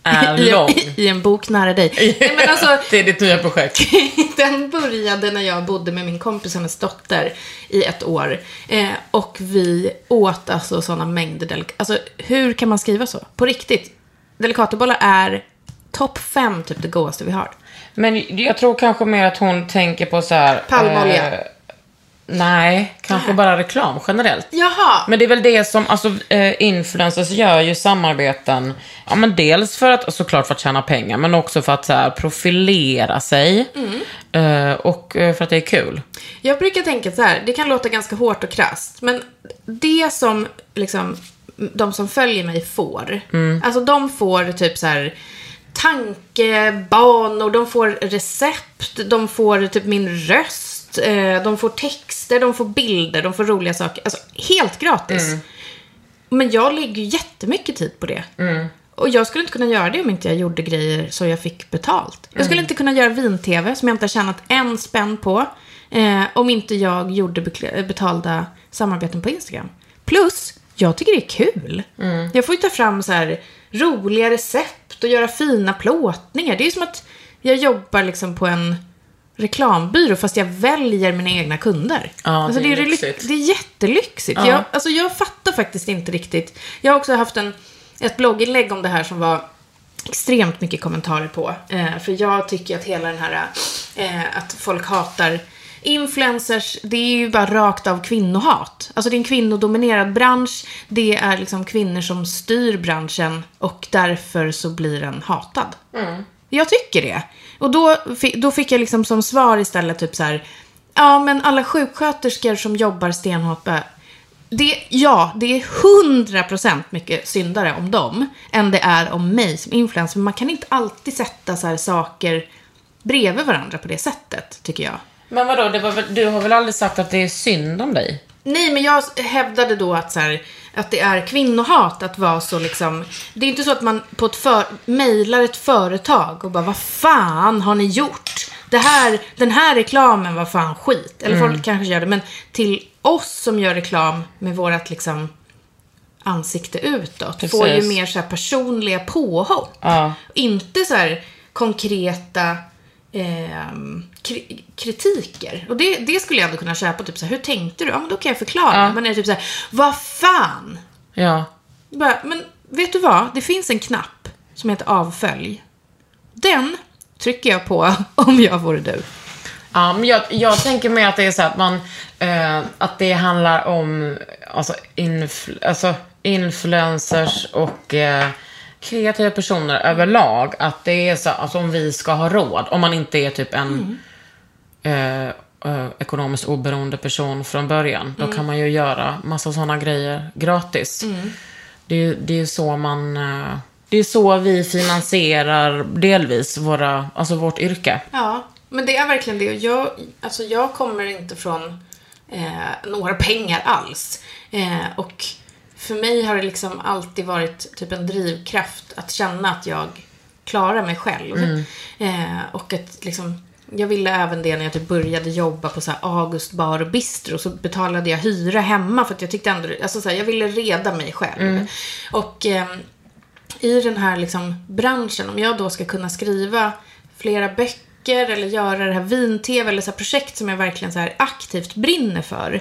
Är <laughs> I, lång. I en bok <laughs> nära dig. Nej, men alltså, det är ditt nya projekt. <laughs> den började när jag bodde med min kompis och hennes dotter i ett år. Eh, och vi åt alltså sådana mängder delikat. Alltså hur kan man skriva så? På riktigt. Delikatobollar är topp fem typ det godaste vi har. Men jag tror kanske mer att hon tänker på så här... Palmolja. eh, nej, kanske bara reklam generellt. Jaha. Men det är väl det som, alltså eh, influencers gör ju samarbeten, ja men dels för att, såklart för att tjäna pengar, men också för att så här, profilera sig. Mm. Eh, och eh, för att det är kul. Jag brukar tänka så här, det kan låta ganska hårt och krasst, men det som liksom, de som följer mig får, alltså de får typ så här tankebanor, de får recept, de får typ min röst, eh, de får texter, de får bilder, de får roliga saker. Alltså helt gratis. Men jag lägger ju jättemycket tid på det. Mm. Och jag skulle inte kunna göra det om inte jag gjorde grejer så jag fick betalt. Jag Mm. skulle inte kunna göra vin-tv som jag inte har tjänat en spänn på. Eh, om inte jag gjorde bekl- eh, betalda samarbeten på Instagram. Plus, jag tycker det är kul. Mm. Jag får ju ta fram så här roliga recept och göra fina plåtningar. Det är ju som att jag jobbar liksom på en reklambyrå fast jag väljer mina egna kunder. Alltså, Ja, det är det, lyxigt. lyx- det är jättelyxigt. Jag, alltså, jag fattar faktiskt inte riktigt. Jag har också haft en, ett blogginlägg om det här som var extremt mycket kommentarer på. Eh, för jag tycker att hela den här, eh, att folk hatar influencers, det är ju bara rakt av kvinnohat. Alltså det är en kvinnodominerad bransch, det är liksom kvinnor som styr branschen och därför så blir den hatad. Jag tycker det. Och då, fi- då fick jag liksom som svar istället typ så här, ja men alla sjuksköterskor som jobbar stenhårt, bara, det, ja, det är 100% mycket syndare om dem än det är om mig som influencer. Men man kan inte alltid sätta så här saker bredvid varandra på det sättet, tycker jag. Men vadå, det var väl, du har väl aldrig sagt att det är synd om dig? Nej, men jag hävdade då att, så här, att det är kvinnohat att vara så liksom... Det är inte så att man på ett för, mejlar ett företag och bara vad fan har ni gjort? Det här, den här reklamen var fan skit. Eller folk kanske gör det, men till oss som gör reklam med vårat liksom ansikte utåt får ju Precis. mer så här personliga påhopp. Ja. Inte så här konkreta ehm, kri- kritiker. Och det, det skulle jag ändå kunna köpa. Typ så här, hur tänkte du? Ja, men då kan jag förklara. Men är det typ så här, vad fan? Ja. Bara, men vet du vad? Det finns en knapp som heter avfölj. Den trycker jag på <laughs> om jag vore du. Ja, men jag, jag tänker mer att det är så här att man, eh, att det handlar om, alltså, influ, alltså influencers och eh, kreativa personer överlag. Att det är så, alltså om vi ska ha råd, om man inte är typ en eh, eh, ekonomiskt oberoende person från början, då kan man ju göra massa sådana grejer gratis. Det är ju det är ju så man, eh, det är så vi finansierar delvis våra, alltså vårt yrke. Ja, men det är verkligen det. Och Jag, alltså jag kommer inte från eh, några pengar alls. Eh, och för mig har det liksom alltid varit typ en drivkraft att känna att jag klarar mig själv. Eh, och att liksom, jag ville även det när jag typ började jobba på så här August bar och bistro. Så betalade jag hyra hemma för att jag tyckte ändå, alltså så här, jag ville reda mig själv. Och ehm, i den här liksom branschen, om jag då ska kunna skriva flera böcker eller göra det här vin-tv eller så här projekt som jag verkligen så här aktivt brinner för,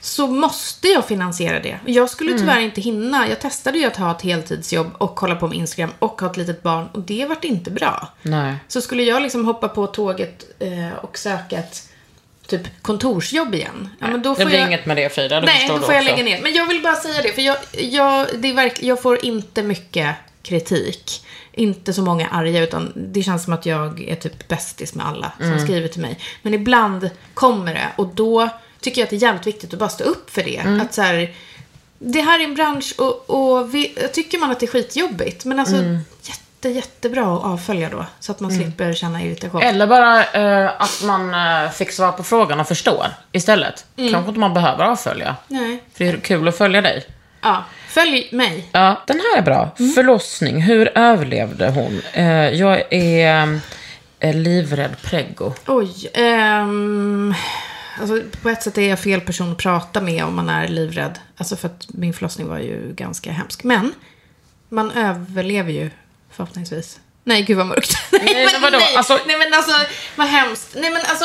så måste jag finansiera det. Och Jag Mm. skulle tyvärr inte hinna. Jag testade ju att ha ett heltidsjobb och kolla på min Instagram och ha ett litet barn och det vart inte bra. Nej. Så skulle jag liksom hoppa på tåget eh, och söka ett typ kontorsjobb igen. Ja, men då det får blir jag... inget med det Frida, det Nej, förstår då du får jag också. lägga ner. Men jag vill bara säga det, för jag, jag, det är verk, jag får inte mycket kritik. Inte så många arga, utan det känns som att jag är typ bästis med alla som Mm. skriver till mig. Men ibland kommer det och då tycker jag att det är jävligt viktigt att bara stå upp för det. Mm. Att så här, det här är en bransch och, och vi, tycker man att det är skitjobbigt, men alltså Mm. jätte, jättebra att avfölja då. Så att man slipper känna irritation. Eller bara eh, att man eh, fick svar på frågan och förstår istället. Kanske inte man behöver avfölja. Mm. Nej. För det är kul att följa dig. Ja, följ mig. Ja, den här är bra. Mm. Förlossning, hur överlevde hon? Eh, jag är eh, livrädd preggo. Oj. ehm, alltså på ett sätt är jag fel person att prata med om man är livrädd. Alltså för att min förlossning var ju ganska hemsk. Men man överlever ju förhoppningsvis. Nej, gud vad mörkt. <laughs> Nej, men vadå? Nej, Alltså- nej men alltså, vad hemskt. Nej, men alltså,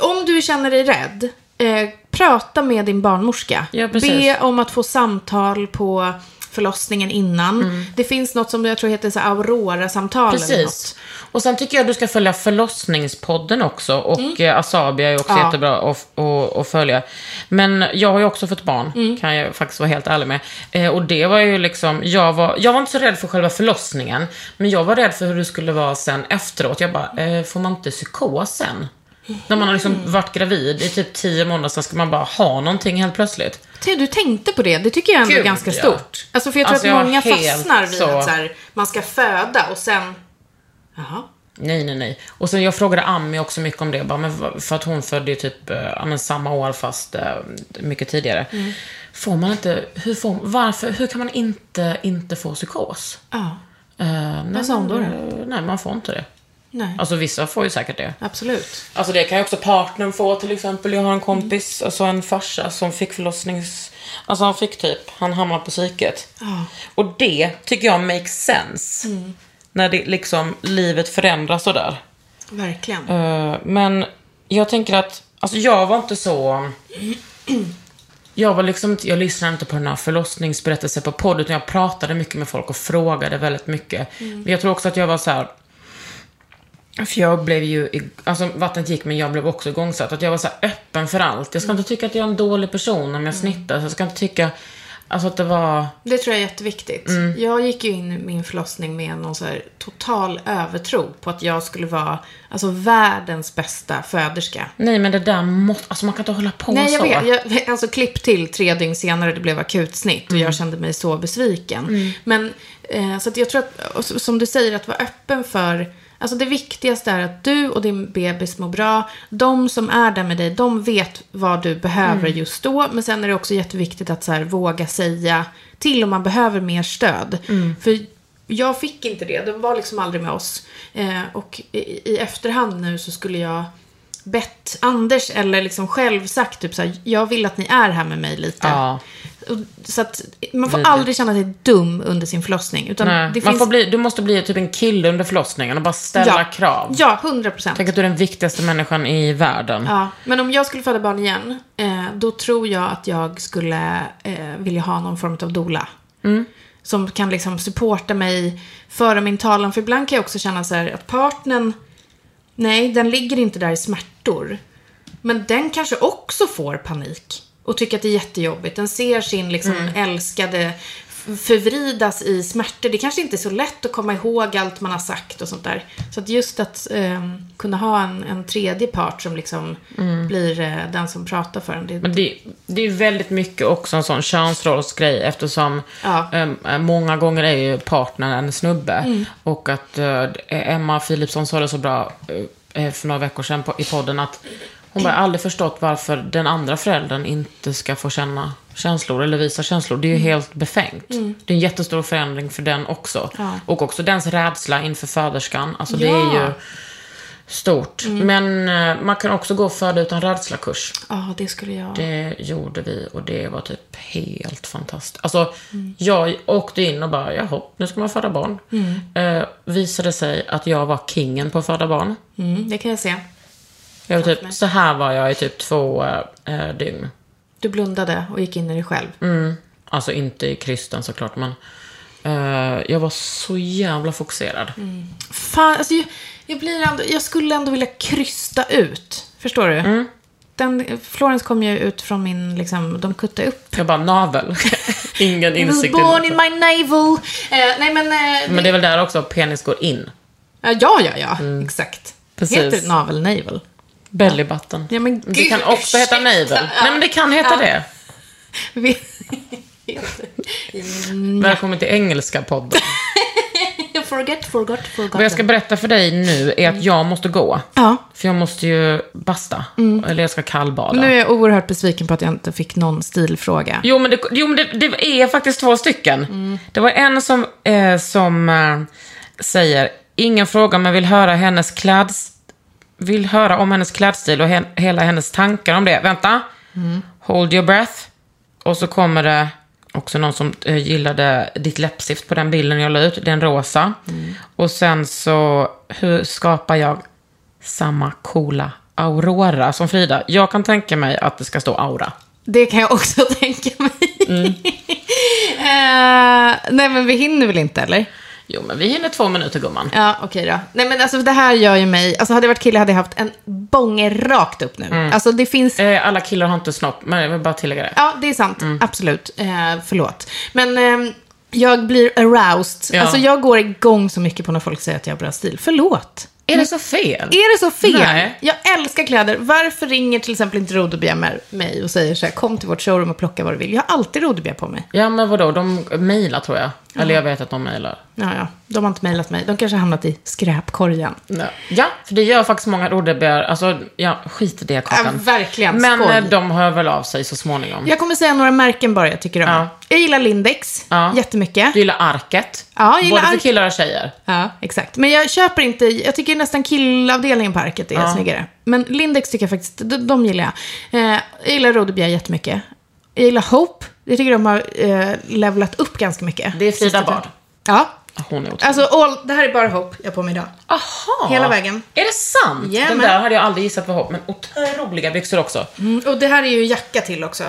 om du känner dig rädd, eh, prata med din barnmorska. Ja, precis. Be om att få samtal på förlossningen innan. Det finns något som jag tror heter så här Aurora-samtal eller något. Mm. Precis. Och sen tycker jag du ska följa förlossningspodden också. Och mm. Asabia är också Ja. jättebra att, att, att följa. Men jag har ju också fått barn, Mm. kan jag faktiskt vara helt ärlig med. Eh, och det var ju liksom, jag var, jag var inte så rädd för själva förlossningen. Men jag var rädd för hur det skulle vara sen efteråt. Jag bara, eh, får man inte psykos sen? När man har Mm. liksom varit gravid i typ tio månader, sen ska man bara ha någonting helt plötsligt. Te, du tänkte på det. Det tycker jag ändå är Gud, ganska ja. stort. Alltså för jag tror Alltså, jag att var många helt fastnar vid så- att så här, man ska föda och sen... Jaha. Nej, nej, nej. Och sen jag frågade Ammi också mycket om det. Bara, men vad- för att hon födde ju typ eh, ja, men samma år fast eh, mycket tidigare. Mm. Får man inte, hur, får, varför, hur kan man inte, inte få psykos? Ja. Eh, nej, sa hon då då? eh, Nej, man får inte det. Nej. Alltså vissa får ju säkert det. Absolut. Alltså det kan ju också partnern få till exempel. Jag har en kompis, Mm. alltså en farsa som fick förlossnings... Alltså han fick typ, han hamnade på psyket. Och det tycker jag makes sense. Mm. När det liksom, livet förändras sådär. Verkligen. Eh, men jag tänker att, alltså jag var inte så... Jag var liksom inte- jag lyssnade inte på den här förlossningsberättelsen på podd, utan jag pratade mycket med folk och frågade väldigt mycket. Mm. Men jag tror också att jag var så här... För jag blev ju, ig- alltså vattnet gick men jag blev också igångsatt. Att jag var så här öppen för allt. Jag ska inte tycka att jag är en dålig person Mm. om jag snittar. Så jag ska inte tycka, alltså att det var... Det tror jag är jätteviktigt. Mm. Jag gick ju in i min förlossning med någon så här total övertro på att jag skulle vara alltså, världens bästa föderska. Nej men det där måste, alltså man kan inte hålla på Nej, jag så. vet. Jag, alltså klipp till tre dygn senare, det blev akutsnitt och Mm. jag kände mig så besviken. Men, eh, så att jag tror att, och s- som du säger, att vara öppen för Alltså det viktigaste är att du och din bebis mår bra. De som är där med dig, de vet vad du behöver Mm. just då. Men sen är det också jätteviktigt att så här, våga säga till om man behöver mer stöd. Mm. För jag fick inte det, de var liksom aldrig med oss. Eh, och i, i efterhand nu så skulle jag bett Anders eller liksom själv sagt typ så här, jag vill att ni är här med mig lite. Ja. Och, så att man får Vidrigt. aldrig känna sig dum under sin förlossning. Utan Nej, Mm, det man finns... får bli, du måste bli typ en kille under förlossningen och bara ställa ja, krav. Ja, 100 procent. Tänk att du är den viktigaste människan i världen. Ja, men om jag skulle föda barn igen, eh, då tror jag att jag skulle eh, vilja ha någon form av doula. Mm. Som kan liksom supporta mig, föra min talan. För ibland kan jag också känna så här att partnern, nej, den ligger inte där i smärtor. Men den kanske också får panik och tycker att det är jättejobbigt. Den ser sin liksom älskade f- förvridas i smärtor. Det kanske inte är så lätt att komma ihåg allt man har sagt och sånt där. Så att just att ehm, kunna ha en, en tredje part som liksom blir eh, den som pratar för en. Det, Men det, det är väldigt mycket också en sån könsrollsgrej eftersom Ja. em, eh, många gånger är ju partnern en snubbe. Och att eh, Emma Philipsson sa det så bra eh, för några veckor sedan på, i podden att hon bara aldrig förstått varför den andra föräldern inte ska få känna känslor eller visa känslor. Det är ju helt befängt. Det är en jättestor förändring för den också. Och också dens rädsla inför föderskan. Alltså det är ju stort. Men eh, man kan också gå föda utan rädsla-kurs. ja, ah, det skulle jag... Det gjorde vi och det var typ helt fantastiskt. Alltså, jag åkte in och bara, jaha, nu ska man föda barn. Mm. Eh, visade sig att jag var kingen på att föda barn. Mm, det kan jag se. Jag var typ, så här var jag i typ två eh, dygn. Du blundade och gick in i dig själv. Alltså inte i krysten såklart, men eh, jag var så jävla fokuserad. Mm. Mm. Fan, alltså jag, jag blir ändå... Jag skulle ändå vilja krysta ut. Förstår du? den, Florence kom ju ut från min, liksom, de kuttade upp. Jag bara, navel. <laughs> Ingen I was insikt born i in my navel. Eh, nej men, eh, Men det är väl där också penis går in. eh, ja, ja, ja, exakt. Mm. Precis. Heter det navel, navel? Belly button. Ja, men det gud, kan också heta ursäkta. navel. Nej, men det kan heta Ja. det. Vi- <laughs> Välkommen till engelska podden. forget, forgot, forgot. Vad jag ska berätta för dig nu är att jag måste gå. Ja. För jag måste ju basta. Eller jag ska kallbada. Nu är jag oerhört besviken på att jag inte fick någon stilfråga. Jo, men, det, jo, men det, det är faktiskt två stycken. Det var en som, eh, som eh, säger, ingen fråga men vill höra hennes kläds... Vill höra om hennes klädstil och hen, hela hennes tankar om det. Vänta. Hold your breath. Och så kommer det också någon som eh, gillade ditt läppstift på den bilden jag la ut. Den rosa. Och sen så, hur skapar jag samma coola aurora som Frida? Jag kan tänka mig att det ska stå aura. Det kan jag också <laughs> tänka mig. <laughs> Eh, nej men vi hinner väl inte eller? Jo, men vi hinner två minuter gumman. Ja, okej då. Nej men alltså det här gör ju mig, alltså hade jag varit kille hade jag haft en bånge rakt upp nu. Alltså det finns, Eh, alla killar har inte snopp, men jag vill bara tillägga det. ja det är sant, absolut. Eh, förlåt. Men ehm, jag blir aroused. Ja. Alltså jag går igång så mycket på när folk säger att jag har bra stil. Förlåt. Är det så fel? Är det så fel? Nej. Jag älskar kläder. Varför ringer till exempel inte Rodebjer mig och säger så här, kom till vårt showroom och plocka vad du vill. Jag har alltid Rodebjer på mig. Ja, men vadå, de mejlar tror jag. Eller jag vet att de mejlar. Ja, ja. De har inte mejlat mig. De kanske har hamnat i skräpkorgen. Ja, för det gör faktiskt många rodebär. Alltså, ja, skit i det Ja, kakan. verkligen. men Skoj. eh, de hör väl av sig så småningom. Jag kommer säga några märken bara jag tycker om. Ja. Jag gillar Lindex Ja. jättemycket. Du gillar arket. Ja, jag gillar Både för Arket. killar och tjejer. Ja, exakt. Men jag köper inte, jag tycker nästan killavdelningen på Arket är snyggare. Men Lindex tycker jag faktiskt, de, de gillar jag. Eh, jag gillar Rodebjer jättemycket. Jag gillar Hope. Jag tycker de har eh, levlat upp ganska mycket. Det är Frida Sista Bard. tiden. Ja. Ah, Hon är otrolig. Alltså, all, det här är bara Hope jag har på mig idag. Ah. Aha. hela vägen. Är det sant? Ja, Den men- där hade jag aldrig gissat var hopp, men otroliga byxor också. Mm, och det här är ju jacka till också.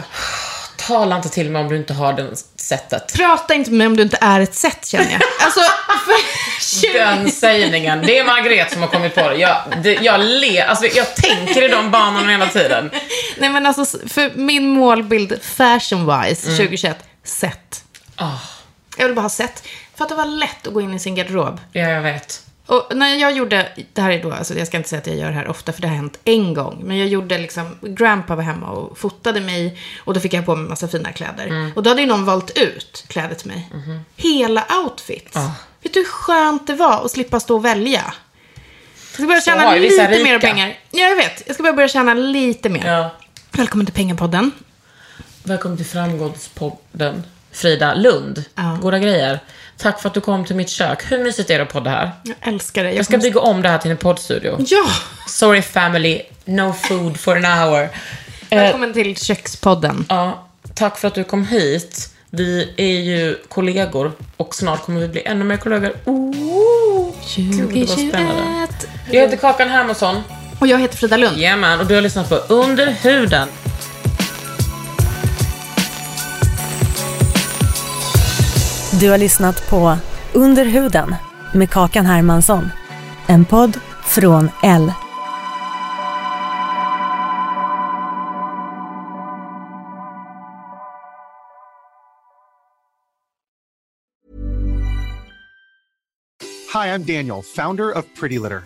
Tala inte till mig om du inte har den sättet. Prata inte med mig om du inte är ett sätt känner jag. Alltså, för Den sägningen. Det är Margret som har kommit på det. Jag, det, jag ler, alltså jag tänker i de banorna hela tiden. Nej men alltså, för min målbild fashion wise 2021, set. Ah, Jag vill bara ha set. För att det var lätt att gå in i sin garderob. ja, jag vet. Och när jag gjorde, det här är då, alltså jag ska inte säga att jag gör det här ofta för det har hänt en gång. Men jag gjorde liksom, grandpa var hemma och fotade mig och då fick jag på mig massa fina kläder. Mm. Och då hade ju någon valt ut kläder till mig. Mhm. Hela outfits. Ah. Vet du hur skönt det var att slippa stå och välja? Jag ska börja Så tjäna har ju vissa lite mer rika. pengar. Ja, jag vet. Jag ska bara börja tjäna lite mer. Ja. Välkommen till Pengapodden. Välkommen till Framgångspodden. Frida Lund. Ja. Goda grejer. Tack för att du kom till mitt kök. Hur mysigt är det att podda här? Jag älskar det. Jag ska bygga om det här till en poddstudio. Ja! Sorry family, no food for an hour. Eh, Välkommen till kökspodden. Ja, tack för att du kom hit. Vi är ju kollegor och snart kommer vi bli ännu mer kollegor. Ooh, gud, vad spännande. 2021. Jag heter Kakan Hermansson. Och jag heter Frida Lund. Jajamän, och du har lyssnat på Under huden. Du har lyssnat på Under huden med Kakan Hermansson. En podd från L. Hi, I'm Daniel, founder of Pretty Litter.